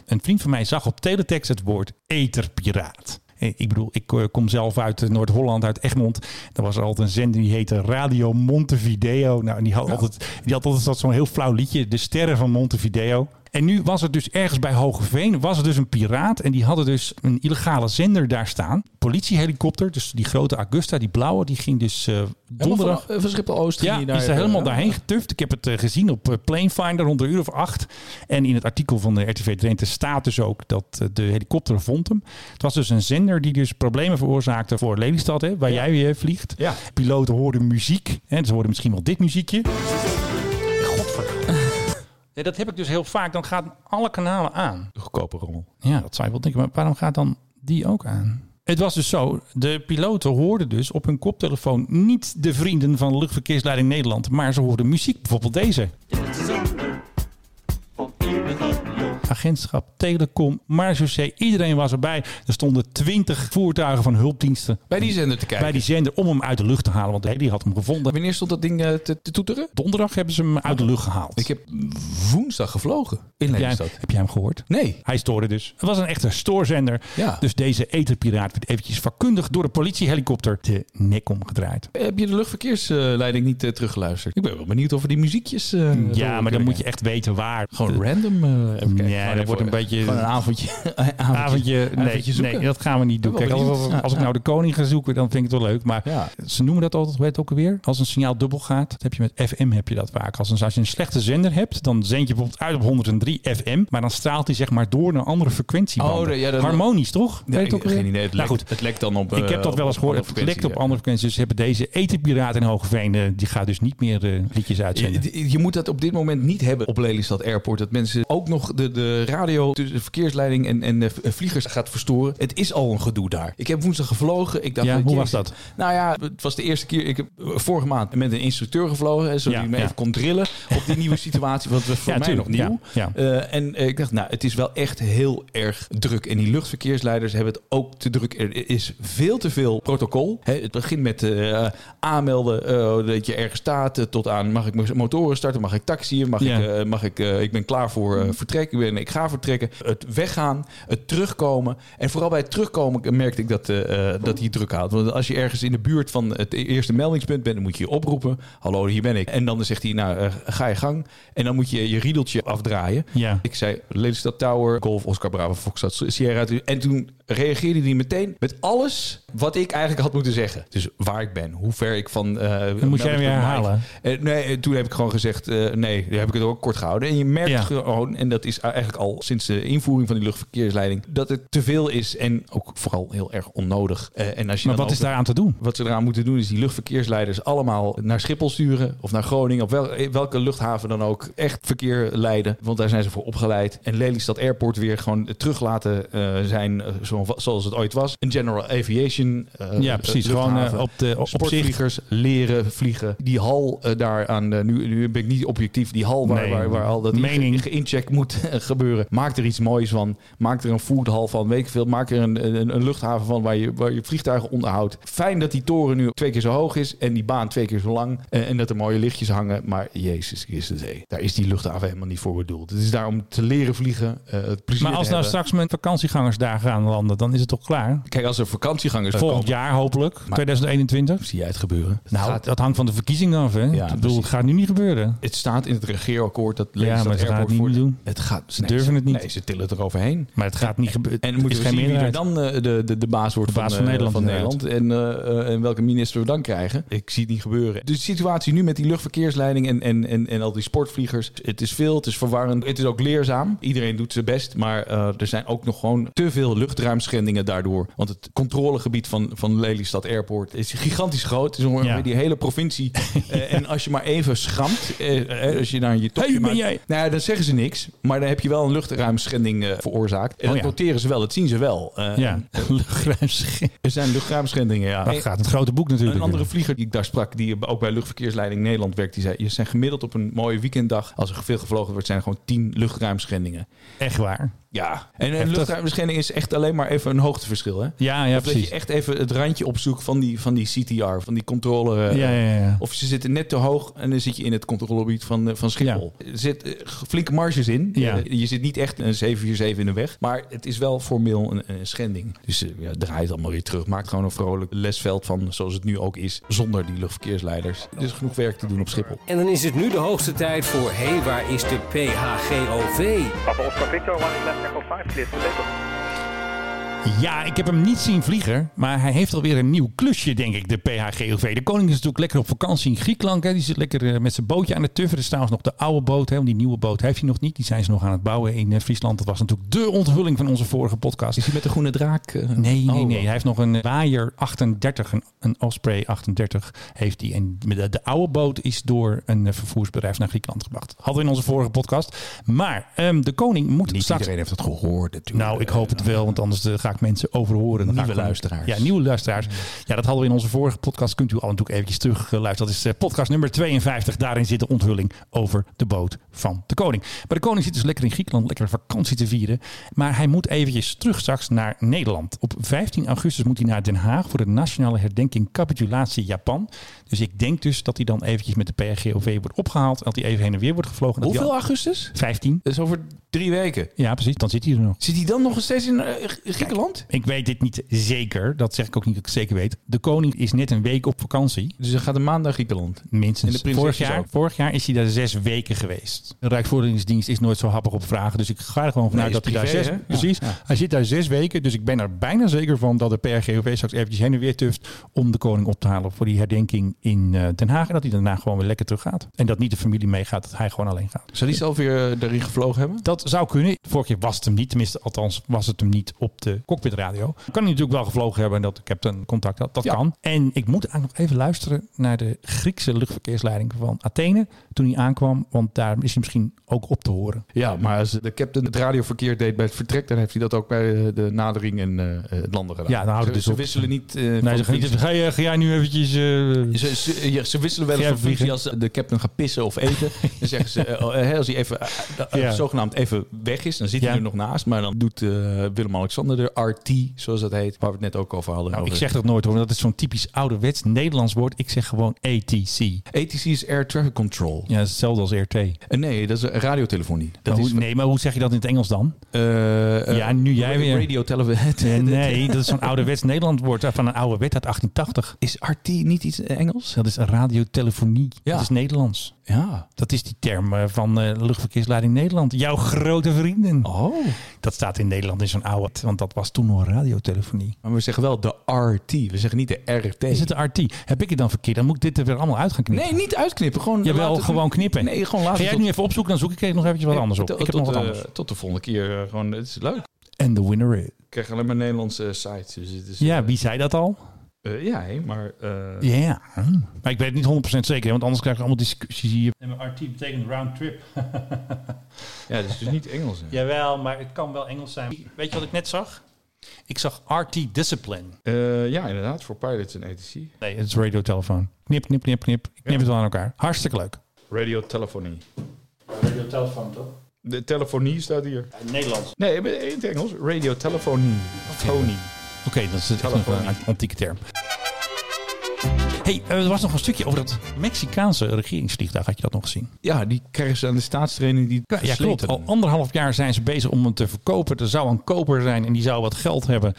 Speaker 1: Een vriend van mij zag op teletext het woord eterpiraat. Eh, Ik bedoel, ik eh, kom zelf uit eh, Noord-Holland, uit Egmond. Daar was er altijd een zender die heette Radio Montevideo. Nou, en die had altijd, die had altijd dat zo'n heel flauw liedje, De Sterren van Montevideo. En nu was het dus ergens bij Hogeveen, was er dus een piraat. En die hadden dus een illegale zender daar staan. Politiehelikopter, dus die grote Augusta, die blauwe, die ging dus eh, donderdag...
Speaker 2: van, eh, van Schiphol Oost ging
Speaker 1: Ja,
Speaker 2: die
Speaker 1: die
Speaker 2: naar,
Speaker 1: is er helemaal
Speaker 2: eh,
Speaker 1: daarheen getuft. Ik heb het eh, gezien op eh, Planefinder rond een uur of acht. En in het artikel van eh, de RTV Drenthe staat dus ook dat eh, de helikopter vond hem. Het was dus een zender die dus problemen veroorzaakte voor Lelystad, hè, waar jij weer vliegt.
Speaker 2: Ja.
Speaker 1: Piloten hoorden muziek. Hè, ze hoorden misschien wel dit muziekje. Godverdomme. Ja, dat heb ik dus heel vaak. Dan gaan alle kanalen aan.
Speaker 2: Goedkope rommel.
Speaker 1: Ja, dat zou je wel denken. Maar waarom gaat dan die ook aan? Het was dus zo, de piloten hoorden dus op hun koptelefoon niet de vrienden van Luchtverkeersleiding Nederland, maar ze hoorden muziek, bijvoorbeeld deze. Agentschap, telecom, marechaussee, iedereen was erbij. Er stonden twintig voertuigen van hulpdiensten
Speaker 2: Bij die zender te kijken.
Speaker 1: bij die zender om hem uit de lucht te halen, want hey, die had hem gevonden.
Speaker 2: Wanneer stond dat ding eh, te, te toeteren?
Speaker 1: Donderdag hebben ze hem uit de lucht gehaald.
Speaker 2: Ik heb woensdag gevlogen in
Speaker 1: heb, jij,
Speaker 2: Lelystad.
Speaker 1: heb jij hem gehoord?
Speaker 2: Nee.
Speaker 1: Hij stoorde dus. Het was een echte stoorzender.
Speaker 2: Ja.
Speaker 1: Dus deze etherpiraat werd eventjes vakkundig door de politiehelikopter de nek omgedraaid.
Speaker 2: Heb je de luchtverkeersleiding niet eh, teruggeluisterd? Ik ben wel benieuwd of we die muziekjes... eh, door
Speaker 1: ja, maar
Speaker 2: kunnen
Speaker 1: dan moet je
Speaker 2: kijken.
Speaker 1: echt weten waar.
Speaker 2: Gewoon random... eh even kijken.
Speaker 1: Ja,
Speaker 2: Gewoon
Speaker 1: dat wordt
Speaker 2: even-
Speaker 1: een beetje...
Speaker 2: Gewoon een avondje. avondje,
Speaker 1: Avondje, nee,
Speaker 2: avondje zoeken.
Speaker 1: nee, dat gaan we niet doen.
Speaker 2: Ik ben
Speaker 1: Kijk,
Speaker 2: wel
Speaker 1: als,
Speaker 2: benieuwd.
Speaker 1: als ik
Speaker 2: Ja,
Speaker 1: nou de koning ga zoeken, dan vind ik het wel leuk. Maar
Speaker 2: Ja.
Speaker 1: ze noemen dat altijd, hoe heet het ook alweer? Als een signaal dubbel gaat, dat heb je met FM heb je dat vaak. Als, een, als je een slechte zender hebt, dan zend je bijvoorbeeld uit op 103 FM, maar dan straalt hij zeg maar door naar andere frequentie.
Speaker 2: Oh, ja, dat-
Speaker 1: Harmonisch, toch?
Speaker 2: Ja,
Speaker 1: Weet
Speaker 2: ik-
Speaker 1: het ook alweer?
Speaker 2: geen idee. Het,
Speaker 1: nou
Speaker 2: lekt,
Speaker 1: goed,
Speaker 2: het lekt dan op...
Speaker 1: ik heb dat wel eens gehoord. Het lekt eh, op andere frequenties. Dus hebben deze etenpiraat in Hoogeveen, eh, die gaat dus niet meer eh, liedjes uitzenden.
Speaker 2: Je, je moet dat op dit moment niet hebben op Lelystad Airport. Dat mensen ook nog de, de radio tussen de verkeersleiding en, en de v- eh, vliegers gaat verstoren. Het is al een gedoe daar. Ik heb woensdag gevlogen. Ik dacht,
Speaker 1: Ja, hoe
Speaker 2: jezus.
Speaker 1: was dat?
Speaker 2: Nou ja, het was de eerste keer. Ik heb eh, vorige maand met een instructeur gevlogen. hè, Zodat
Speaker 1: Ja,
Speaker 2: hij me
Speaker 1: ja.
Speaker 2: even kon drillen op die nieuwe situatie. Want we voor
Speaker 1: Ja,
Speaker 2: mij
Speaker 1: tuurlijk.
Speaker 2: nog nieuw.
Speaker 1: Ja,
Speaker 2: Eh, en eh, ik dacht, nou, het is wel echt heel erg druk. En die luchtverkeersleiders hebben het ook te druk. Er is veel te veel protocol. Hè, het begint met eh, aanmelden eh, dat je ergens staat. eh, tot aan, mag ik mijn motoren starten? Mag ik taxiën? Mag
Speaker 1: Ja.
Speaker 2: ik, eh, mag ik, eh, ik ben klaar voor eh, vertrek. Ik, ben, ik ga vertrekken. Het weggaan, het terugkomen. En vooral bij het terugkomen merkte ik dat, eh, eh, dat hij druk houdt. Want als je ergens in de buurt van het e-, eerste meldingspunt bent, dan moet je je oproepen. Hallo, hier ben ik. En dan zegt hij, nou, eh, ga je gang. En dan moet je je riedeltje afdraaien.
Speaker 1: Ja.
Speaker 2: Ik zei Lelystad Tower, Golf, Oscar Bravo, Foxtrot, Sierra. En toen reageerde hij meteen met alles wat ik eigenlijk had moeten zeggen. Dus waar ik ben, hoe ver ik van... eh
Speaker 1: moest jij hem weer herhalen?
Speaker 2: Eh, nee, eh, toen heb ik gewoon gezegd, eh, nee, daar heb ik het ook kort gehouden. En je merkt
Speaker 1: Ja.
Speaker 2: gewoon, en dat is eigenlijk al sinds de invoering van die luchtverkeersleiding, dat het te veel is en ook vooral heel erg onnodig. Eh, en als je
Speaker 1: Maar
Speaker 2: dan
Speaker 1: wat is
Speaker 2: over-
Speaker 1: daaraan te doen?
Speaker 2: wat ze eraan moeten doen is die luchtverkeersleiders allemaal naar Schiphol sturen of naar Groningen, op wel- eh, welke luchthaven dan ook, echt verkeer leiden, want daar zijn ze voor opgeleid. En Lelystad Airport weer gewoon terug laten eh, zijn eh, zo- zoals het ooit was. Een general aviation. eh,
Speaker 1: Ja, precies.
Speaker 2: luchthaven.
Speaker 1: Gewoon, eh, op de- op
Speaker 2: sportvliegers leren vliegen. Die hal eh, daar aan, eh, nu, nu ben ik niet objectief, die hal waar,
Speaker 1: Nee,
Speaker 2: waar, waar al dat
Speaker 1: mening.
Speaker 2: ge- incheck moet gebeuren. Maak er iets moois van. Maak er een foodhal van. Weet ik veel. Maak er een, een, een luchthaven van waar je, waar je vliegtuigen onderhoudt. Fijn dat die toren nu twee keer zo hoog is en die baan twee keer zo lang. eh, En, en dat er mooie lichtjes hangen. Maar Jezus Christus, hé, daar is die luchthaven helemaal niet voor bedoeld. Het is daar om te leren vliegen. eh, het plezier
Speaker 1: Maar als
Speaker 2: te
Speaker 1: nou
Speaker 2: hebben.
Speaker 1: straks mijn vakantiegangers daar gaan landen, dan is het toch klaar?
Speaker 2: Kijk, als er vakantiegangers
Speaker 1: Volgend
Speaker 2: komen,
Speaker 1: jaar hopelijk, 2021.
Speaker 2: zie jij het gebeuren.
Speaker 1: Nou,
Speaker 2: Gaat-
Speaker 1: dat hangt van de verkiezingen af. Hè? ik bedoel,
Speaker 2: precies.
Speaker 1: het gaat nu niet gebeuren.
Speaker 2: Het staat in het regeerakkoord dat
Speaker 1: maar
Speaker 2: Lelystad
Speaker 1: ze gaan het
Speaker 2: Airport
Speaker 1: niet
Speaker 2: voor...
Speaker 1: doen.
Speaker 2: Het gaat, ze
Speaker 1: durven het niet.
Speaker 2: Nee, ze tillen het eroverheen.
Speaker 1: Maar het gaat niet gebeuren.
Speaker 2: En dan moeten
Speaker 1: is
Speaker 2: we
Speaker 1: geen
Speaker 2: zien wie er
Speaker 1: meerderheid.
Speaker 2: dan eh, de, de, de baas wordt
Speaker 1: De baas
Speaker 2: van,
Speaker 1: van
Speaker 2: eh,
Speaker 1: Nederland,
Speaker 2: van
Speaker 1: inderdaad.
Speaker 2: Nederland. En, eh, eh, en welke minister we dan krijgen. Ik zie het niet gebeuren. De situatie nu met die luchtverkeersleiding en, en, en, en al die sportvliegers. Het is veel, het is verwarrend. Het is ook leerzaam. Iedereen doet zijn best. Maar eh, er zijn ook nog gewoon te veel luchtruimschendingen daardoor. Want het controlegebied van, van Lelystad Airport is gigantisch groot. Het is ongeveer
Speaker 1: Ja.
Speaker 2: die hele provincie. Eh, en als je maar even schramt, eh, eh, als je naar je topje
Speaker 1: Hey, ben
Speaker 2: maakt-
Speaker 1: jij?
Speaker 2: nou ja, dan zeggen ze niks. Maar dan heb je wel een luchtruimschending eh, veroorzaakt. En
Speaker 1: Oh
Speaker 2: dat
Speaker 1: ja.
Speaker 2: noteren ze wel, dat zien ze wel. Eh,
Speaker 1: Ja, luchtruimschip.
Speaker 2: Er zijn luchtruimschendingen, ja.
Speaker 1: Dat gaat het grote boek natuurlijk.
Speaker 2: Een andere vlieger die ik daar sprak, die ook bij Luchtverkeersleiding Nederland werkt, die zei: Je zijn gemiddeld op een mooie weekenddag, als er veel gevlogen wordt, zijn er gewoon 10 luchtruimschendingen.
Speaker 1: Echt waar.
Speaker 2: Ja. En een
Speaker 1: Heftig.
Speaker 2: luchtruimschending is echt alleen maar even een hoogteverschil, hè?
Speaker 1: Ja, ja
Speaker 2: Of dat
Speaker 1: precies.
Speaker 2: je echt even het randje opzoek van die, van die CTR, van die controle. eh,
Speaker 1: Ja, ja, ja.
Speaker 2: Of ze zitten net te hoog en dan zit je in het controlegebied van, eh, van Schiphol. Er zit eh, flinke marges in.
Speaker 1: Ja.
Speaker 2: Eh, Je zit niet echt een 747 in de weg. Maar het is wel formeel een, een schending. Dus eh, ja, draai het allemaal weer terug. Maak gewoon een vrolijk lesveld van zoals het nu ook is. Zonder die luchtverkeersleiders. Er is genoeg werk te doen op Schiphol.
Speaker 3: En dan is het nu de hoogste tijd voor... Hé, hey, waar is de PHGOV?
Speaker 8: Papa Oscar Victor, one is left echo 5, clear to label.
Speaker 1: Ja, ik heb hem niet zien vliegen, maar hij heeft alweer een nieuw klusje, denk ik, de PHGOV. De koning is natuurlijk lekker op vakantie in Griekenland. Hè. Die zit lekker eh, met zijn bootje aan het tuffen. Er is trouwens nog de oude boot, hè, want die nieuwe boot heeft hij nog niet. Die zijn ze nog aan het bouwen in eh, Friesland. Dat was natuurlijk de onthulling van onze vorige podcast.
Speaker 2: Is hij met de groene draak? eh,
Speaker 1: Nee, nee,
Speaker 2: oh,
Speaker 1: nee. Hij heeft nog een Waaier 38, een, een Osprey 38 heeft hij. En de, de oude boot is door een eh, vervoersbedrijf naar Griekenland gebracht. Hadden we in onze vorige podcast. Maar ehm, de koning moet
Speaker 2: Niet
Speaker 1: straks...
Speaker 2: iedereen heeft het gehoord natuurlijk.
Speaker 1: Nou, ik hoop het wel, want anders eh, ga ik mensen overhoren. Dan
Speaker 2: Nieuwe
Speaker 1: ga ik gewoon-
Speaker 2: luisteraars.
Speaker 1: Ja, nieuwe luisteraars. Ja, dat hadden we in onze vorige podcast. Kunt u al natuurlijk eventjes terug eh, luisteren. Dat is eh, podcast nummer 52. Daarin zit de onthulling over de boot van de koning. Maar de koning zit dus lekker in Griekenland, lekker vakantie te vieren. Maar hij moet eventjes terug straks naar Nederland. Op 15 augustus moet hij naar Den Haag voor de nationale herdenking capitulatie Japan. Dus ik denk dus dat hij dan eventjes met de PRGOV wordt opgehaald. en Dat hij even heen en weer wordt gevlogen. Dat hij
Speaker 2: Hoeveel
Speaker 1: al-
Speaker 2: augustus?
Speaker 1: 15.
Speaker 2: Dat is over drie weken.
Speaker 1: Ja, precies. Dan zit hij er nog.
Speaker 2: Zit hij dan nog steeds in eh, Griekenland?
Speaker 1: Ik weet dit niet zeker. Dat zeg ik ook niet dat ik zeker weet. De koning is net een week op vakantie.
Speaker 2: Dus hij gaat een maand naar Griekenland. En
Speaker 1: Minstens.
Speaker 2: de prinses
Speaker 1: Vorig
Speaker 2: is
Speaker 1: jaar,
Speaker 2: ook.
Speaker 1: vorig jaar is hij daar zes weken geweest. De Rijksvoordelingsdienst is nooit zo happig op vragen. Dus ik ga er gewoon vanuit
Speaker 2: Nee,
Speaker 1: dat hij
Speaker 2: is
Speaker 1: daar
Speaker 2: privé,
Speaker 1: zes...
Speaker 2: hè? Ja,
Speaker 1: Precies.
Speaker 2: ja.
Speaker 1: Hij zit daar zes weken. Dus ik ben er bijna zeker van dat de PRGOV straks eventjes heen en weer tuft... om de koning op te halen voor die herdenking in eh, Den Haag. En dat hij daarna gewoon weer lekker terug gaat. En dat niet de familie meegaat, dat hij gewoon alleen gaat.
Speaker 2: Zou hij zelf weer eh, daarin gevlogen hebben?
Speaker 1: Dat zou kunnen. Vorige keer was het hem niet. Tenminste, althans was het hem niet op de cockpitradio. Kan hij natuurlijk wel gevlogen hebben en dat de captain contact had. Dat
Speaker 2: Ja.
Speaker 1: kan. En ik moet eigenlijk nog even luisteren naar de Griekse luchtverkeersleiding van Athene. Toen hij aankwam, want daar is hij misschien ook op te horen.
Speaker 2: Ja, maar als de captain het radioverkeer deed bij het vertrek, dan heeft hij dat ook bij eh, de nadering en eh, het landen gedaan.
Speaker 1: Ja, dan houdt
Speaker 2: ze,
Speaker 1: het dus
Speaker 2: ze
Speaker 1: op.
Speaker 2: wisselen niet. eh, van
Speaker 1: Nee, ze gaan niet,
Speaker 2: functie.
Speaker 1: ga, jij, ga jij nu eventjes... eh,
Speaker 2: Ze, ze, ja, ze wisselen wel
Speaker 1: Ga
Speaker 2: eens
Speaker 1: jij
Speaker 2: van functie als
Speaker 1: vliegen?
Speaker 2: de captain gaat pissen of eten. Dan zeggen ze, eh, oh, eh, als hij even, eh, eh,
Speaker 1: Ja.
Speaker 2: zogenaamd even weg is, dan zit hij
Speaker 1: Ja.
Speaker 2: er nog naast. Maar dan doet eh, Willem-Alexander de RT, zoals dat heet, waar we het net ook over hadden.
Speaker 1: nou, ik
Speaker 2: Over-
Speaker 1: zeg dat nooit hoor, want dat is zo'n typisch ouderwets Nederlands woord. Ik zeg gewoon ATC.
Speaker 2: ATC is Air Traffic Control.
Speaker 1: Ja, dat is hetzelfde als RT.
Speaker 2: Eh, nee, dat is radiotelefonie. Dat
Speaker 1: Maar Nou, hoe-
Speaker 2: is,
Speaker 1: nee, maar hoe zeg je dat in het Engels dan?
Speaker 2: eh, eh,
Speaker 1: Ja, nu jij weer.
Speaker 2: Radio televisie.
Speaker 1: Eh, Nee, dat is zo'n ouderwets Nederlands woord eh, van een oude wet uit 1880.
Speaker 2: Is RT niet iets Engels?
Speaker 1: eh, Dat is radiotelefonie.
Speaker 2: Ja.
Speaker 1: Dat is Nederlands.
Speaker 2: Ja.
Speaker 1: Dat is die term eh, van eh, luchtverkeersleiding Nederland. Jouw grote vrienden.
Speaker 2: Oh.
Speaker 1: Dat staat in Nederland in zo'n oude... Want dat was toen nog radiotelefonie.
Speaker 2: Maar we zeggen wel de RT. We zeggen niet de RT.
Speaker 1: Is het de RT? Heb ik het dan verkeerd? Dan moet ik dit er weer allemaal uit gaan knippen.
Speaker 2: Nee, niet uitknippen. Gewoon
Speaker 1: Jawel,
Speaker 2: laat het-
Speaker 1: gewoon knippen.
Speaker 2: Nee, gewoon
Speaker 1: Ga
Speaker 2: laten
Speaker 1: jij het nu even opzoeken? Dan zoek ik even nog eventjes wat anders op. Ik heb nog wat anders.
Speaker 2: tot eh, de volgende keer. eh, gewoon, het is leuk.
Speaker 1: En de winner is...
Speaker 2: Ik krijg alleen maar Nederlandse sites. Dus het is,
Speaker 1: Ja, wie zei dat al?
Speaker 2: eh, ja, hè, maar... eh,
Speaker 1: Ja. Hm. Maar ik weet het niet 100% zeker, hè, want anders krijg ik allemaal discussies hier. En RT betekent round trip.
Speaker 2: ja, het is dus niet Engels. hè.
Speaker 1: Jawel, maar het kan wel Engels zijn. Weet je wat ik net zag? Ik zag RT Discipline.
Speaker 2: Eh, ja, inderdaad. Voor pilots en ATC.
Speaker 1: Nee, het is radiotelefoon. Knip, knip, knip, knip. Ik knip het wel aan elkaar. Hartstikke leuk.
Speaker 2: Radio telephony.
Speaker 1: Radiotelefoon toch?
Speaker 2: De telefonie staat hier.
Speaker 1: Nederlands.
Speaker 2: Nee, maar in het Engels. Radio telephony. Phony.
Speaker 1: Oké, dat is echt nog
Speaker 2: Telefoon.
Speaker 1: een antieke term. hey, eh, er was nog een stukje over dat Mexicaanse regeringsvliegtuig. Had je dat nog gezien?
Speaker 2: Ja, die krijgen ze aan de staatstraining. Die
Speaker 1: Ja, klopt. Oh, Al anderhalf jaar zijn ze bezig om hem te verkopen. Er zou een koper zijn en die zou wat geld hebben.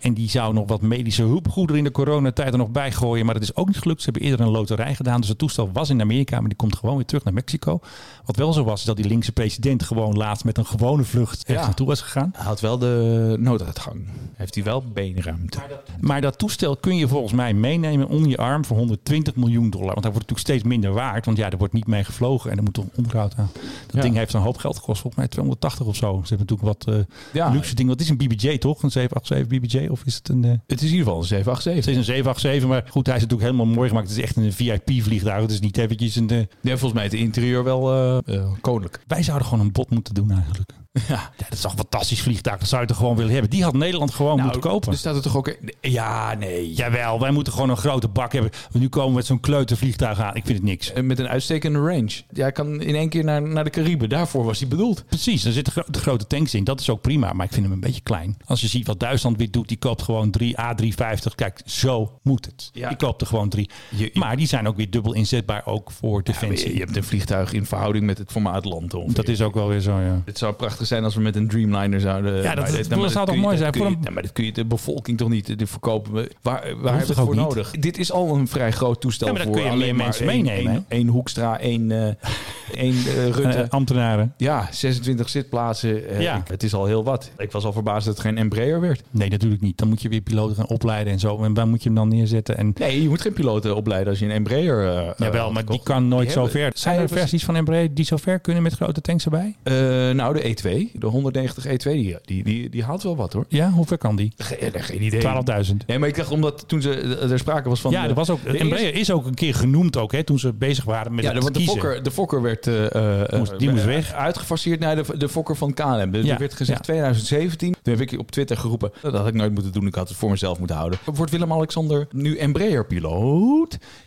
Speaker 1: En die zou nog wat medische hulpgoederen in de coronatijd er nog bij gooien. Maar dat is ook niet gelukt. Ze hebben eerder een loterij gedaan. Dus het toestel was in Amerika, maar die komt gewoon weer terug naar Mexico. Wat wel zo was, is dat die linkse president gewoon laatst met een gewone vlucht ergens
Speaker 2: Ja.
Speaker 1: naartoe was gegaan.
Speaker 2: Hij had wel de nooduitgang. Heeft hij wel beenruimte.
Speaker 1: Maar dat toestel kun je volgens mij meenemen onder je arm voor 120 miljoen dollar. Want hij wordt natuurlijk steeds minder waard. Want ja, er wordt niet mee gevlogen en er moet toch onderhoud aan. Dat
Speaker 2: Ja.
Speaker 1: ding heeft een hoop geld gekost, volgens mij 280 of zo. Ze hebben natuurlijk wat eh,
Speaker 2: Ja.
Speaker 1: luxe dingen. Wat is een BBJ toch? Een 787 BBJ? Of is het een... eh,
Speaker 2: Het is in ieder geval een
Speaker 1: het
Speaker 2: 787.
Speaker 1: is een 787, maar goed, hij is natuurlijk helemaal mooi gemaakt. Het is echt een VIP-vliegtuig. Het is niet eventjes een... eh,
Speaker 2: Ja, volgens mij het interieur wel eh, eh, koninklijk.
Speaker 1: wij zouden gewoon een bod moeten doen eigenlijk. Ja. dat is toch een fantastisch vliegtuig. Dat zou je toch gewoon willen hebben. Die had Nederland gewoon moeten kopen.
Speaker 2: Dus staat er toch ook... Ja, nee.
Speaker 1: Jawel, wij moeten gewoon een grote bak hebben. Want nu komen we met zo'n kleutervliegtuig aan. Ik vind het niks.
Speaker 2: Eh, Met een uitstekende range. Ja, hij kan in één keer naar, naar de Cariben. Daarvoor was hij bedoeld.
Speaker 1: Precies, er zitten gro- grote tanks in. Dat is ook prima, maar ik vind hem een beetje klein. Als je ziet wat Duitsland weer doet, die koopt gewoon drie A350. Kijk, zo moet het.
Speaker 2: Ja.
Speaker 1: Die koopt er gewoon drie.
Speaker 2: Je- je-
Speaker 1: maar die zijn ook weer dubbel inzetbaar, ook voor defensie.
Speaker 2: Je, je hebt een vliegtuig in verhouding met het formaat land. ongeveer.
Speaker 1: dat is ook wel weer zo, ja.
Speaker 2: Het zou prachtig zijn als we met een Dreamliner zouden...
Speaker 1: Ja, dat-
Speaker 2: maar maar
Speaker 1: dat zou toch
Speaker 2: kun je-
Speaker 1: mooi
Speaker 2: dat
Speaker 1: zijn
Speaker 2: kun
Speaker 1: voor
Speaker 2: je-
Speaker 1: een-
Speaker 2: Ja, maar dat kun je de bevolking toch niet eh, dit verkopen. Waar, waar hebben we
Speaker 1: toch
Speaker 2: het
Speaker 1: ook
Speaker 2: voor
Speaker 1: niet?
Speaker 2: nodig? Dit is al een vrij groot toestel
Speaker 1: Ja, maar dan
Speaker 2: voor
Speaker 1: kun je
Speaker 2: alleen
Speaker 1: meer
Speaker 2: maar
Speaker 1: mensen
Speaker 2: één-
Speaker 1: meenemen,
Speaker 2: één- één Hoekstra, één, eh één eh, Rutte.
Speaker 1: Eh, ambtenaren.
Speaker 2: ja, 26 zitplaatsen. eh,
Speaker 1: Ja.
Speaker 2: ik- het is al heel wat. Ik was al verbaasd dat het geen Embraer werd.
Speaker 1: Nee, natuurlijk niet. Dan moet je weer piloten gaan opleiden en zo. En waar moet je hem dan neerzetten? En,
Speaker 2: Nee, je moet geen piloten opleiden als je een Embraer... eh,
Speaker 1: jawel,
Speaker 2: eh,
Speaker 1: maar die
Speaker 2: kocht.
Speaker 1: kan nooit
Speaker 2: Die
Speaker 1: zo
Speaker 2: hebben-
Speaker 1: ver. Zijn er
Speaker 2: hebben ze-
Speaker 1: versies van Embraer die zo ver kunnen met grote tanks erbij?
Speaker 2: Eh, nou, de E2, de 190 E2, die, die, die, die haalt wel wat hoor.
Speaker 1: Ja, hoe ver kan die?
Speaker 2: Geen, eh, geen idee.
Speaker 1: 12.000.
Speaker 2: Nee, maar ik dacht omdat toen ze eh, er sprake was van.
Speaker 1: ja, er was ook,
Speaker 2: de
Speaker 1: Embraer
Speaker 2: eerste-
Speaker 1: is ook een keer genoemd ook, hè, toen ze bezig waren met
Speaker 2: Ja,
Speaker 1: het
Speaker 2: want de
Speaker 1: kiezen.
Speaker 2: Fokker, de Fokker werd. eh, eh,
Speaker 1: Moest- die moest weg.
Speaker 2: Uitgefaseerd naar de, de Fokker van KLM. Er
Speaker 1: Ja,
Speaker 2: werd gezegd
Speaker 1: ja.
Speaker 2: 2017. Toen heb ik op Twitter geroepen. Dat had ik nooit moeten doen. Ik had het voor mezelf moeten houden. Wordt Willem-Alexander nu Embraer-piloot?
Speaker 1: Vraagteken,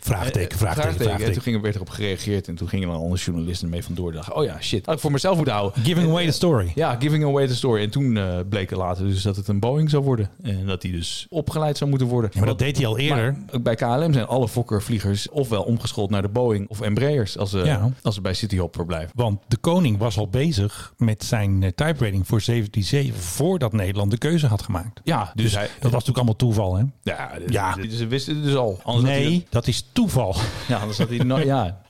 Speaker 2: Eh,
Speaker 1: vraagteken,
Speaker 2: En toen
Speaker 1: vraagteken.
Speaker 2: ging er, werd erop gereageerd. En toen gingen er andere journalisten mee vandoor. Dacht, oh ja, shit. Had ik voor mezelf moeten houden.
Speaker 1: Giving away the story.
Speaker 2: Ja, giving away the story. En toen eh, bleek er later dus dat het een Boeing zou worden. En dat die dus opgeleid zou moeten worden.
Speaker 1: Ja, maar dat deed hij al eerder.
Speaker 2: Maar ook bij KLM zijn alle Fokker-vliegers ofwel omgeschoold naar de Boeing of Embraers als ze,
Speaker 1: Ja.
Speaker 2: als ze bij Cityhopper blijven.
Speaker 1: Want de koning was al bezig met zijn eh, type rating voor 177 voordat Nederland de keuze had gemaakt.
Speaker 2: Ja, dus,
Speaker 1: Dus
Speaker 2: hij...
Speaker 1: dat was natuurlijk allemaal toeval, hè?
Speaker 2: Ja,
Speaker 1: Ja.
Speaker 2: d- d- ze wisten het dus al. Anders had hij
Speaker 1: Nee,
Speaker 2: het-
Speaker 1: dat is toeval.
Speaker 2: ja, anders had hij, het no- ja,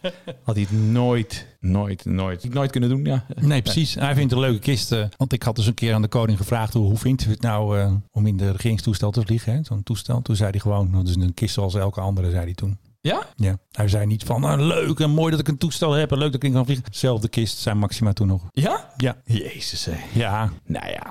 Speaker 2: had hij het nooit, nooit, nooit, nooit kunnen doen. Ja.
Speaker 1: Nee, precies. Hij vindt een leuke kist. eh, Want ik had dus een keer aan de koning gevraagd... hoe, hoe vindt u het nou eh, om in de regeringstoestel te vliegen? hè? Zo'n toestel. Toen zei hij gewoon... nou, dat is een kist zoals elke andere, zei hij toen.
Speaker 2: Ja?
Speaker 1: Ja. Hij zei niet van... nou, leuk en mooi dat ik een toestel heb... en leuk dat ik in kan vliegen. Zelfde kist, zei Maxima toen nog.
Speaker 2: Ja?
Speaker 1: Ja.
Speaker 2: Jezus, hè.
Speaker 1: Ja,
Speaker 2: Nou ja.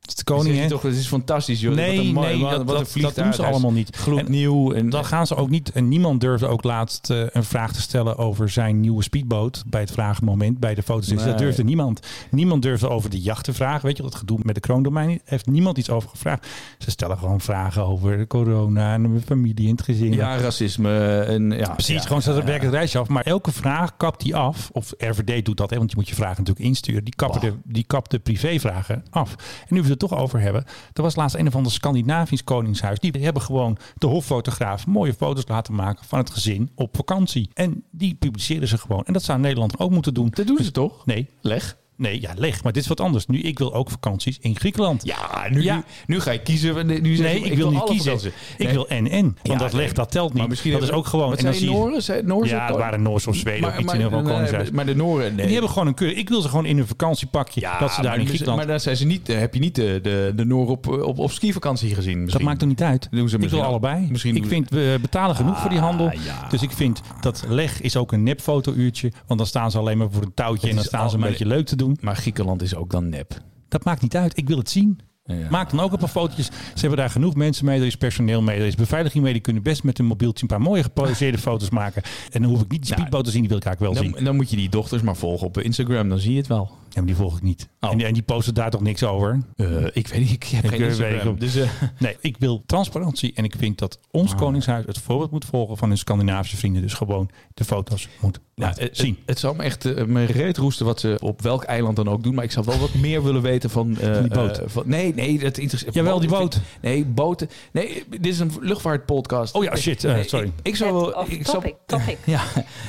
Speaker 1: het is de
Speaker 2: Zeg
Speaker 1: koning,
Speaker 2: je
Speaker 1: hè?
Speaker 2: toch, het is fantastisch, joh.
Speaker 1: Nee,
Speaker 2: wat een mooi,
Speaker 1: nee,
Speaker 2: wat,
Speaker 1: dat-
Speaker 2: wat
Speaker 1: dat-
Speaker 2: een vliegtuig.
Speaker 1: dat doen ze
Speaker 2: Hij is
Speaker 1: allemaal niet.
Speaker 2: Gloednieuw. En,
Speaker 1: Dat gaan ze ook niet. En niemand durfde ook laatst eh, een vraag te stellen over zijn nieuwe speedboot. Bij het vragenmoment, bij de foto's. Dus
Speaker 2: Nee.
Speaker 1: Dat durfde niemand. Niemand durfde over de jacht te vragen. Weet je wat het gedoe met de kroondomein? Heeft niemand iets over gevraagd. Ze stellen gewoon vragen over corona en de familie en het gezin.
Speaker 2: ja, racisme. En, ja,
Speaker 1: Precies,
Speaker 2: ja.
Speaker 1: gewoon ze werken het reisje af. Maar elke vraag kapt die af. Of RVD doet dat, hè, want je moet je vragen natuurlijk insturen. Die kappen de, die kapt de privévragen af. En nu we het er toch over hebben. Er was laatst een of ander Scandinavisch koningshuis. Die hebben gewoon de hoffotograaf mooie foto's laten maken van het gezin op vakantie. En die publiceren ze gewoon. En dat zou Nederland ook moeten doen.
Speaker 2: Dat doen ze toch?
Speaker 1: Nee,
Speaker 2: Leg.
Speaker 1: nee, ja, leg. Maar dit is wat anders. Nu, ik wil ook vakanties in Griekenland.
Speaker 2: Ja, nu,
Speaker 1: Ja.
Speaker 2: Nu, nu ga je kiezen. Nu zeg
Speaker 1: Nee,
Speaker 2: je,
Speaker 1: ik, wil niet
Speaker 2: alle
Speaker 1: kiezen.
Speaker 2: vakantie.
Speaker 1: Ik
Speaker 2: Nee.
Speaker 1: wil en en. Want
Speaker 2: Ja,
Speaker 1: dat
Speaker 2: nee.
Speaker 1: leg, dat telt niet.
Speaker 2: Maar misschien
Speaker 1: dat is
Speaker 2: hebben-
Speaker 1: ook gewoon.
Speaker 2: Wat
Speaker 1: en dan
Speaker 2: zijn
Speaker 1: zie je-
Speaker 2: Noren? Zijn- Noren zijn
Speaker 1: ja, het
Speaker 2: koning?
Speaker 1: waren Noorse of Zweden of iets in ieder geval
Speaker 2: nee,
Speaker 1: koningshuis.
Speaker 2: Maar de Noren, nee.
Speaker 1: Die hebben gewoon een keur. Ik wil ze gewoon in hun vakantiepakje. dat ze daar
Speaker 2: maar,
Speaker 1: in Griekenland.
Speaker 2: Maar daar zijn ze niet, eh, heb je niet de, de, de Noren op, op, op skivakantie gezien. Misschien.
Speaker 1: dat maakt toch niet uit.
Speaker 2: Doen ze
Speaker 1: ik
Speaker 2: misschien
Speaker 1: wil
Speaker 2: ook.
Speaker 1: allebei.
Speaker 2: Misschien
Speaker 1: ik
Speaker 2: doen- Ah,
Speaker 1: vind, we betalen genoeg voor die handel.
Speaker 2: ja.
Speaker 1: Dus ik vind dat leg is ook een nep fotouurtje. Want dan staan ze alleen maar voor een touwtje. En dan
Speaker 2: is
Speaker 1: staan ze een
Speaker 2: al-
Speaker 1: beetje leuk te doen.
Speaker 2: Maar Griekenland is ook dan nep.
Speaker 1: Dat maakt niet uit. Ik wil het zien.
Speaker 2: Ja.
Speaker 1: Maak dan ook een paar fotootjes. Ze hebben daar genoeg mensen mee. Er is personeel mee. Er is beveiliging mee. Die kunnen best met hun mobieltje een paar mooie geposeerde foto's maken. En dan hoef ik niet die
Speaker 2: Nou,
Speaker 1: speedboot te zien. Die wil ik eigenlijk wel zien.
Speaker 2: Dan, dan moet je die dochters maar volgen op Instagram, dan zie je het wel.
Speaker 1: Ja, maar die volg ik niet.
Speaker 2: Oh.
Speaker 1: En, die- en die posten daar toch niks over?
Speaker 2: Eh, ik weet niet, ik heb
Speaker 1: Ik
Speaker 2: geen
Speaker 1: weet
Speaker 2: Instagram.
Speaker 1: het.
Speaker 2: Dus, eh,
Speaker 1: Nee, ik wil transparantie. En ik vind dat
Speaker 2: Ah.
Speaker 1: ons Koningshuis het voorbeeld moet volgen van hun Scandinavische vrienden. Dus gewoon de foto's moet
Speaker 2: nou,
Speaker 1: laten
Speaker 2: het,
Speaker 1: zien.
Speaker 2: het, het zal me echt eh, mijn reet roesten wat ze op welk eiland dan ook doen. Maar ik zou wel wat meer willen weten van... eh,
Speaker 1: die boot.
Speaker 2: eh, van- nee, nee, dat interesseert
Speaker 1: Jawel, die boot.
Speaker 2: Nee, boten. Nee, dit is een luchtvaartpodcast.
Speaker 1: Oh ja, shit, eh,
Speaker 2: Nee,
Speaker 1: sorry.
Speaker 2: Ik, ik zou wel...
Speaker 5: Of
Speaker 2: Ik zou,
Speaker 5: topic, topic.
Speaker 2: ja,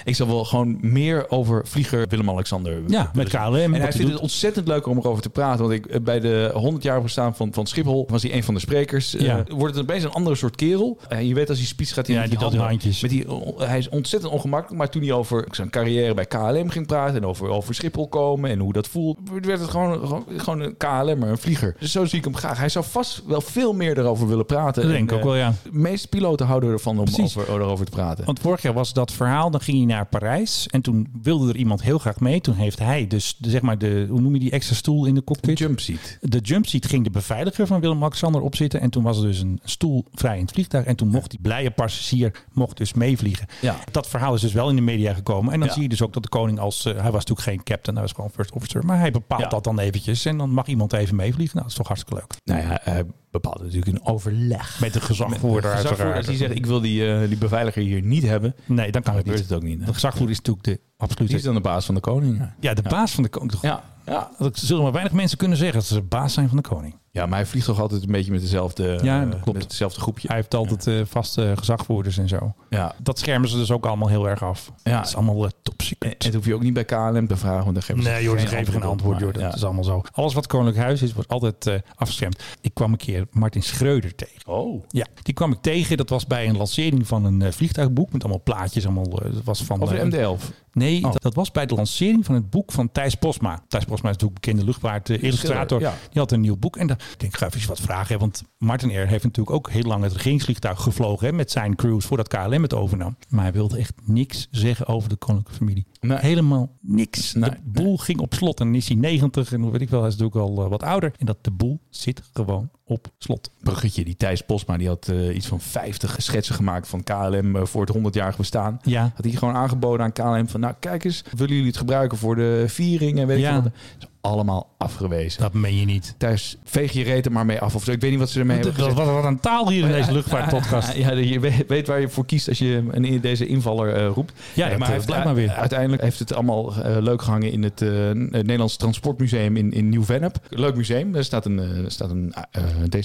Speaker 2: ik zou wel gewoon meer over vlieger Willem-Alexander willen
Speaker 1: ja, met
Speaker 2: zien.
Speaker 1: KLM. wat
Speaker 2: En hij
Speaker 1: hij
Speaker 2: vindt
Speaker 1: doet.
Speaker 2: het ontzettend leuk om erover te praten. Want ik, eh, bij de 100 jaar bestaan van, van Schiphol was hij een van de sprekers. Eh,
Speaker 1: Ja.
Speaker 2: wordt het opeens een andere soort kerel. Eh, je weet als hij speech gaat hij
Speaker 1: Ja,
Speaker 2: met
Speaker 1: die doet die handjes.
Speaker 2: Met die, oh, hij is ontzettend ongemakkelijk. Maar toen hij over zijn carrière bij KLM ging praten. En over, over Schiphol komen en hoe dat voelt. Werd het gewoon, gewoon, gewoon een KLM'er, een vlieger. Dus zo zie ik hem graag. Hij zou vast wel veel meer erover willen praten.
Speaker 1: Dat denk ik
Speaker 2: En,
Speaker 1: ook
Speaker 2: eh,
Speaker 1: wel, ja.
Speaker 2: De meeste piloten houden ervan om
Speaker 1: Precies.
Speaker 2: over, erover te praten.
Speaker 1: Want vorig jaar was dat verhaal, dan ging hij naar Parijs en toen wilde er iemand heel graag mee. Toen heeft hij dus de- zeg maar de, hoe noem je die extra stoel in de cockpit?
Speaker 2: De jumpseat.
Speaker 1: De jumpseat ging de beveiliger van Willem-Alexander opzitten. En toen was er dus een stoel vrij in het vliegtuig. En toen mocht die blije passagier mocht dus meevliegen.
Speaker 2: Ja.
Speaker 1: Dat verhaal is dus wel in de media gekomen. En dan
Speaker 2: Ja.
Speaker 1: zie je dus ook dat de koning als... eh, hij was natuurlijk geen captain, hij was gewoon first officer. Maar hij bepaalt
Speaker 2: Ja.
Speaker 1: dat dan eventjes. En dan mag iemand even meevliegen. Nou, dat is toch hartstikke leuk.
Speaker 2: Nou ja, hij bepaalde natuurlijk een overleg.
Speaker 1: Met de gezagvoerder
Speaker 2: Gezagvoerder,
Speaker 1: uiteraard.
Speaker 2: Als hij zegt, ik wil die, eh, die beveiliger hier niet hebben,
Speaker 1: Nee, dan kan het
Speaker 2: gebeurt
Speaker 1: niet.
Speaker 2: het ook niet. hè?
Speaker 1: De gezagvoerder is natuurlijk de
Speaker 2: Die is
Speaker 1: absolute...
Speaker 2: dan de baas van de koning. Ja.
Speaker 1: Ja, de baas van de koning.
Speaker 2: Ja. Ja.
Speaker 1: Dat zullen maar weinig mensen kunnen zeggen dat ze de baas zijn van de koning.
Speaker 2: maar hij vliegt toch altijd een beetje met dezelfde,
Speaker 1: Ja,
Speaker 2: eh,
Speaker 1: dat klopt.
Speaker 2: met hetzelfde groepje.
Speaker 1: Hij heeft altijd eh, vaste gezagvoerders en zo.
Speaker 2: Ja.
Speaker 1: Dat schermen ze dus ook allemaal heel erg af.
Speaker 2: Ja.
Speaker 1: Het is allemaal eh, top
Speaker 2: En, en
Speaker 1: secret.
Speaker 2: dat hoef je ook niet bij KLM te vragen, want dan geven ze
Speaker 1: Nee joh, ze geven geen antwoord joh.
Speaker 2: Maar,
Speaker 1: Dat
Speaker 2: ja.
Speaker 1: is allemaal zo. Alles wat Koninklijk Huis is, wordt altijd eh, afgeschermd. Ik kwam een keer Martin Schreuder tegen.
Speaker 2: Oh.
Speaker 1: Ja, die kwam ik tegen. Dat was bij een lancering van een eh, vliegtuigboek met allemaal plaatjes. Allemaal, eh, dat was van,
Speaker 2: Over
Speaker 1: eh,
Speaker 2: de MD-11.
Speaker 1: Nee,
Speaker 2: Oh.
Speaker 1: dat, dat was bij de lancering van het boek van Thijs Posma. Thijs Posma is natuurlijk bekende luchtvaartillustrator.
Speaker 2: Schilder, eh, ja.
Speaker 1: Die had een nieuw boek. En daar ik denk ik, ga even wat vragen. Hè, want Martin Air heeft natuurlijk ook heel lang het regeringsvliegtuig gevlogen. Hè, met zijn crews voordat KLM het overnam. Maar hij wilde echt niks zeggen over de koninklijke familie.
Speaker 2: Nee.
Speaker 1: Helemaal niks.
Speaker 2: Nee,
Speaker 1: de boel ging op slot. En dan is hij 90 en weet ik wel, hij is natuurlijk al eh, wat ouder. En dat de boel zit gewoon op slot.
Speaker 2: Bruggetje, die Thijs Posma, die had eh, iets van 50 schetsen gemaakt van KLM eh, voor het 100-jarig bestaan.
Speaker 1: Ja.
Speaker 2: Had hij gewoon aangeboden aan KLM van, nou kijk eens, willen jullie het gebruiken voor de viering en weet
Speaker 1: Ja.
Speaker 2: ik wat. Dat is allemaal afgewezen.
Speaker 1: Dat meen je niet.
Speaker 2: Thijs, veeg je reet er maar mee af of zo. Ik weet niet wat ze ermee
Speaker 1: Wat,
Speaker 2: hebben
Speaker 1: wat,
Speaker 2: gezegd.
Speaker 1: wat een taal hier in deze luchtvaartpodcast.
Speaker 2: Ja, je weet weet waar je voor kiest als je een, deze invaller eh, roept.
Speaker 1: Ja, dat, eh, blijkt maar weer.
Speaker 2: Uiteindelijk heeft het allemaal eh, leuk gehangen in het, eh, het Nederlands Transportmuseum in, in Nieuw-Vennep. Leuk museum. Daar staat een, eh, staat een eh, DC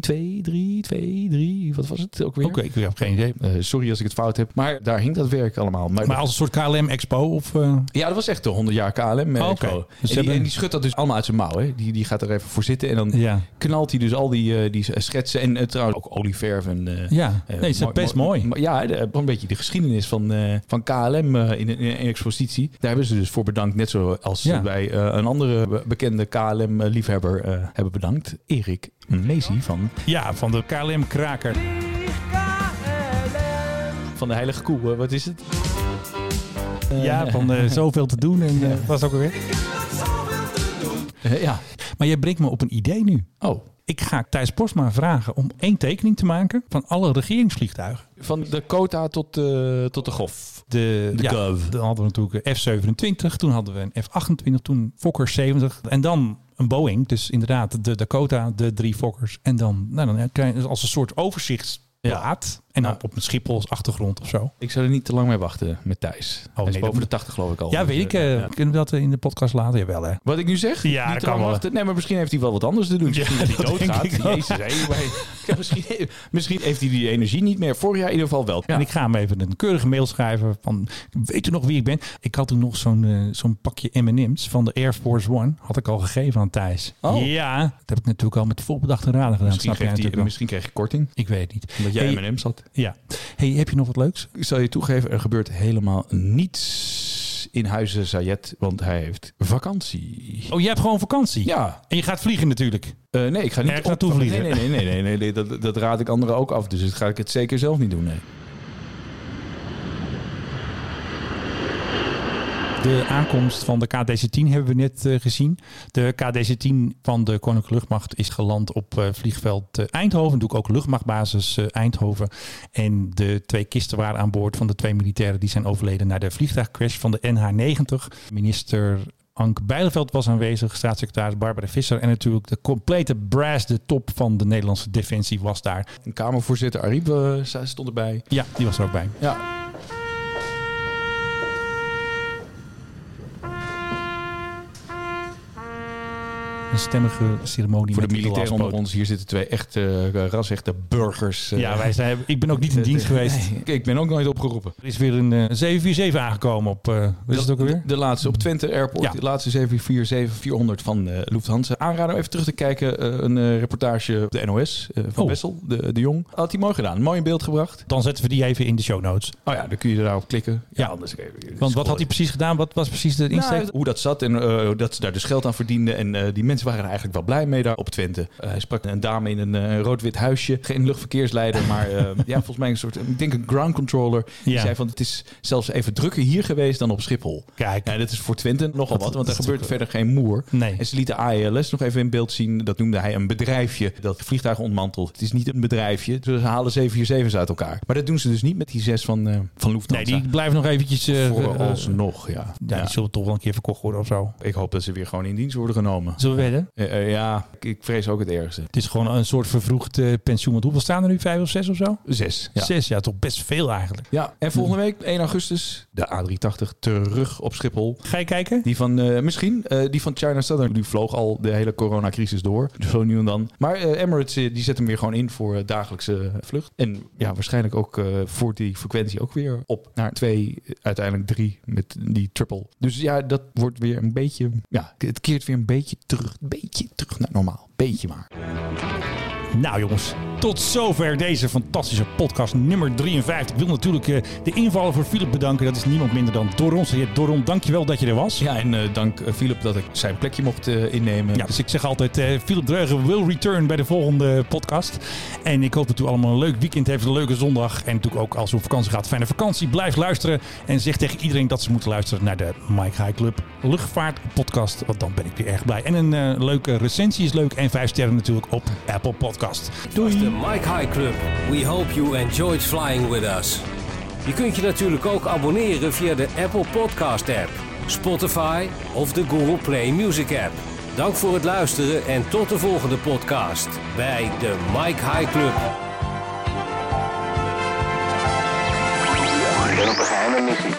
Speaker 2: 2, 3, 2, 3. Wat was het ook weer?
Speaker 1: Oké, ik heb geen idee.
Speaker 2: Eh, sorry als ik het fout heb, maar daar hing dat werk allemaal.
Speaker 1: Maar als een soort KLM Expo of... eh,
Speaker 2: Ja, dat was echt de 100 jaar KLM. eh,
Speaker 1: Oh, oké.
Speaker 2: zo. en,
Speaker 1: Dus ze
Speaker 2: die,
Speaker 1: hebben-
Speaker 2: en die schudt dat dus allemaal uit zijn mouw. Hè? Die, die gaat er even voor zitten en dan
Speaker 1: Ja.
Speaker 2: knalt hij dus al die, eh, die schetsen. En eh, trouwens ook olieverf. En, eh,
Speaker 1: Ja.
Speaker 2: eh,
Speaker 1: Nee, het is
Speaker 2: mo-
Speaker 1: best
Speaker 2: mo-
Speaker 1: mooi.
Speaker 2: mo- Ja, de- eh, een beetje de geschiedenis van, eh, van KLM eh, in, een- in een expositie. Daar hebben ze dus voor bedankt. Net zoals
Speaker 1: Ja.
Speaker 2: wij eh, een andere be- bekende KLM-liefhebber eh, hebben bedankt. Erik Meesie van,
Speaker 1: Ja, van de KLM-kraker.
Speaker 2: van de Heilige Koe. eh, wat is het?
Speaker 1: Ja, van eh, zoveel te doen. En, eh, was ook alweer.
Speaker 2: Eh, ja.
Speaker 1: Maar jij brengt me op een idee nu.
Speaker 2: Oh,
Speaker 1: Ik ga Thijs Postma vragen om één tekening te maken van alle regeringsvliegtuigen.
Speaker 2: van de Kota tot, eh, tot de Gof.
Speaker 1: De,
Speaker 2: De
Speaker 1: ja,
Speaker 2: Gov.
Speaker 1: dan hadden we natuurlijk een F-27, toen hadden we een F-28, toen Fokker 70 en dan een Boeing. Dus inderdaad de Dakota, de drie Fokkers. En dan, nou, dan krijg je dus als een soort overzichtsplaat. En dan
Speaker 2: Ja.
Speaker 1: op een Schiphol als achtergrond of zo.
Speaker 2: Ik zou er niet te lang mee wachten met Thijs. Hij is
Speaker 1: Oh, nee,
Speaker 2: boven
Speaker 1: dat-
Speaker 2: de 80 geloof ik al.
Speaker 1: Ja,
Speaker 2: Dus,
Speaker 1: weet ik.
Speaker 2: eh,
Speaker 1: eh,
Speaker 2: ja.
Speaker 1: Kunnen we dat in de podcast later? Jawel hè.
Speaker 2: Wat ik nu zeg?
Speaker 1: Ja,
Speaker 2: Niet
Speaker 1: dat
Speaker 2: te
Speaker 1: kan
Speaker 2: lang
Speaker 1: wel.
Speaker 2: wachten. Nee, maar misschien heeft hij wel wat anders te doen. misschien dat hij
Speaker 1: dat
Speaker 2: doodgaat.
Speaker 1: denk ik wel.
Speaker 2: Jezus, hé, maar- Ja, misschien, misschien heeft hij die energie niet meer. Vorig jaar in ieder geval wel. Ja.
Speaker 1: En ik ga hem even een keurige mail schrijven van... Weet u nog wie ik ben? Ik had toen nog zo'n eh, zo'n pakje M&M's van de Air Force One. Had ik al gegeven aan Thijs.
Speaker 2: Oh.
Speaker 1: Ja, dat heb ik natuurlijk al met voorbedachte raden gedaan.
Speaker 2: misschien,
Speaker 1: snap
Speaker 2: kreeg
Speaker 1: jij
Speaker 2: hij,
Speaker 1: natuurlijk
Speaker 2: misschien kreeg je korting.
Speaker 1: wel. Ik weet niet.
Speaker 2: Omdat jij
Speaker 1: hey,
Speaker 2: M&M zat.
Speaker 1: Ja. Hey, heb je nog wat leuks?
Speaker 2: Ik zal je toegeven, er gebeurt helemaal niets in huizen Zayet. Want hij heeft vakantie.
Speaker 1: Oh, jij hebt gewoon vakantie?
Speaker 2: Ja,
Speaker 1: En je gaat vliegen natuurlijk?
Speaker 2: Eh, nee, ik ga niet
Speaker 1: Ergens naartoe
Speaker 2: op-
Speaker 1: vliegen.
Speaker 2: Nee, nee, nee, nee, nee, nee, dat, dat raad ik anderen ook af. Dus dat ga ik het zeker zelf niet doen. Nee.
Speaker 1: De aankomst van de KDC-10 hebben we net eh, gezien. De KDC-10 van de Koninklijke Luchtmacht is geland op eh, vliegveld eh, Eindhoven. Doe ik ook luchtmachtbasis eh, Eindhoven. En de twee kisten waren aan boord van de twee militairen die zijn overleden na de vliegtuigcrash van de NH-90. Minister Ank Bijleveld was aanwezig, staatssecretaris Barbara Visser en natuurlijk de complete brass, de top van de Nederlandse defensie was daar.
Speaker 2: Een Kamervoorzitter Ariep eh, stond erbij.
Speaker 1: Ja, die was er ook bij.
Speaker 2: Ja.
Speaker 1: Een stemmige ceremonie
Speaker 2: Voor
Speaker 1: met
Speaker 2: de militairen onder
Speaker 1: laspoot.
Speaker 2: ons, hier zitten twee echte, eh, rasechte burgers. eh.
Speaker 1: Ja, wij zijn, ik ben ook niet in dienst geweest.
Speaker 2: Nee, ik- ik ben ook nooit opgeroepen. Dus
Speaker 1: Er is weer een eh, 747 aangekomen op. eh wat is het ook alweer?
Speaker 2: De, de laatste op Twente Airport,
Speaker 1: Ja.
Speaker 2: de laatste 747-400 van eh, Lufthansa. Aanrader om even terug te kijken, eh, een eh, reportage op de NOS eh, van
Speaker 1: Oh.
Speaker 2: Wessel, de, de Jong. Had hij mooi gedaan, mooi in beeld gebracht.
Speaker 1: Dan zetten we die even in de show notes.
Speaker 2: Oh ja, dan kun je daarop klikken.
Speaker 1: Ja.
Speaker 2: anders dus even.
Speaker 1: Want wat had hij precies gedaan? Wat was precies de insteek?
Speaker 2: Nou, hoe dat zat en eh, dat ze daar dus geld aan verdienden. En eh, die mensen mensen waren er eigenlijk wel blij mee daar op Twente. Eh, hij sprak een dame in een eh, rood-wit huisje. Geen luchtverkeersleider, maar eh, ja, volgens mij een soort, ik denk een ground controller. Die
Speaker 1: Ja.
Speaker 2: zei van, het is zelfs even drukker hier geweest dan op Schiphol.
Speaker 1: Kijk.
Speaker 2: Ja, dat is voor Twente nogal wat, want er
Speaker 1: dat is
Speaker 2: gebeurt
Speaker 1: ook-
Speaker 2: verder geen moer.
Speaker 1: Nee.
Speaker 2: En ze lieten ALS nog even in beeld zien. Dat noemde hij een bedrijfje dat vliegtuigen ontmantelt. Het is niet een bedrijfje. Dus ze halen 747's uit elkaar. Maar dat doen ze dus niet met die zes van, eh, van
Speaker 1: Nee,
Speaker 2: Lufthansa.
Speaker 1: die blijven nog eventjes... eh, eh,
Speaker 2: Vooralsnog, ja.
Speaker 1: ja, die zullen toch wel een keer verkocht worden of zo.
Speaker 2: Ik hoop dat ze weer gewoon in dienst worden genomen.
Speaker 1: Zullen we wedden?
Speaker 2: Eh, eh, ja, ik, ik vrees ook het ergste.
Speaker 1: Het is gewoon een soort vervroegd eh, pensioen. Want hoeveel staan er nu? Vijf of zes of zo?
Speaker 2: Zes. Ja.
Speaker 1: Zes, ja, toch best veel eigenlijk.
Speaker 2: Ja, en volgende week, 1 augustus, de A380 terug op Schiphol.
Speaker 1: Ga je kijken?
Speaker 2: Die van, eh, misschien, eh, die van China Southern, die vloog al de hele coronacrisis door. dus Zo nu en dan. Maar eh, Emirates, eh, die zet hem weer gewoon in voor eh, dagelijkse vlucht. En ja, waarschijnlijk ook eh, voor die frequentie ook weer op naar twee, eh, uiteindelijk drie met die triple. Dus ja, dat wordt weer een beetje, ja, het keert weer een beetje terug. Beetje terug naar normaal. Beetje maar.
Speaker 1: Nou jongens, tot zover deze fantastische podcast nummer 53. Ik wil natuurlijk eh, de invallen voor Philip bedanken. Dat is niemand minder dan Doron. Heer Doron, dankjewel dat je er was.
Speaker 2: Ja, en eh, dank eh, Philip dat ik zijn plekje mocht eh, innemen.
Speaker 1: Ja, dus ik zeg altijd, eh Philip Dreugen will return bij de volgende podcast. En ik hoop dat u allemaal een leuk weekend heeft, een leuke zondag. En natuurlijk ook als u op vakantie gaat, fijne vakantie. Blijf luisteren en zeg tegen iedereen dat ze moeten luisteren naar de Mike High Club Luchtvaart podcast. Want dan ben ik weer erg blij. En een eh, leuke recensie is leuk. En vijf sterren natuurlijk op Apple Podcast.
Speaker 3: was
Speaker 1: Doei!
Speaker 3: de Mike High Club. We hope you enjoyed flying with us. Je kunt je natuurlijk ook abonneren via de Apple Podcast app, Spotify of de Google Play Music app. Dank voor het luisteren en tot de volgende podcast bij de Mike High Club.
Speaker 4: Ik ben op een geheime missie.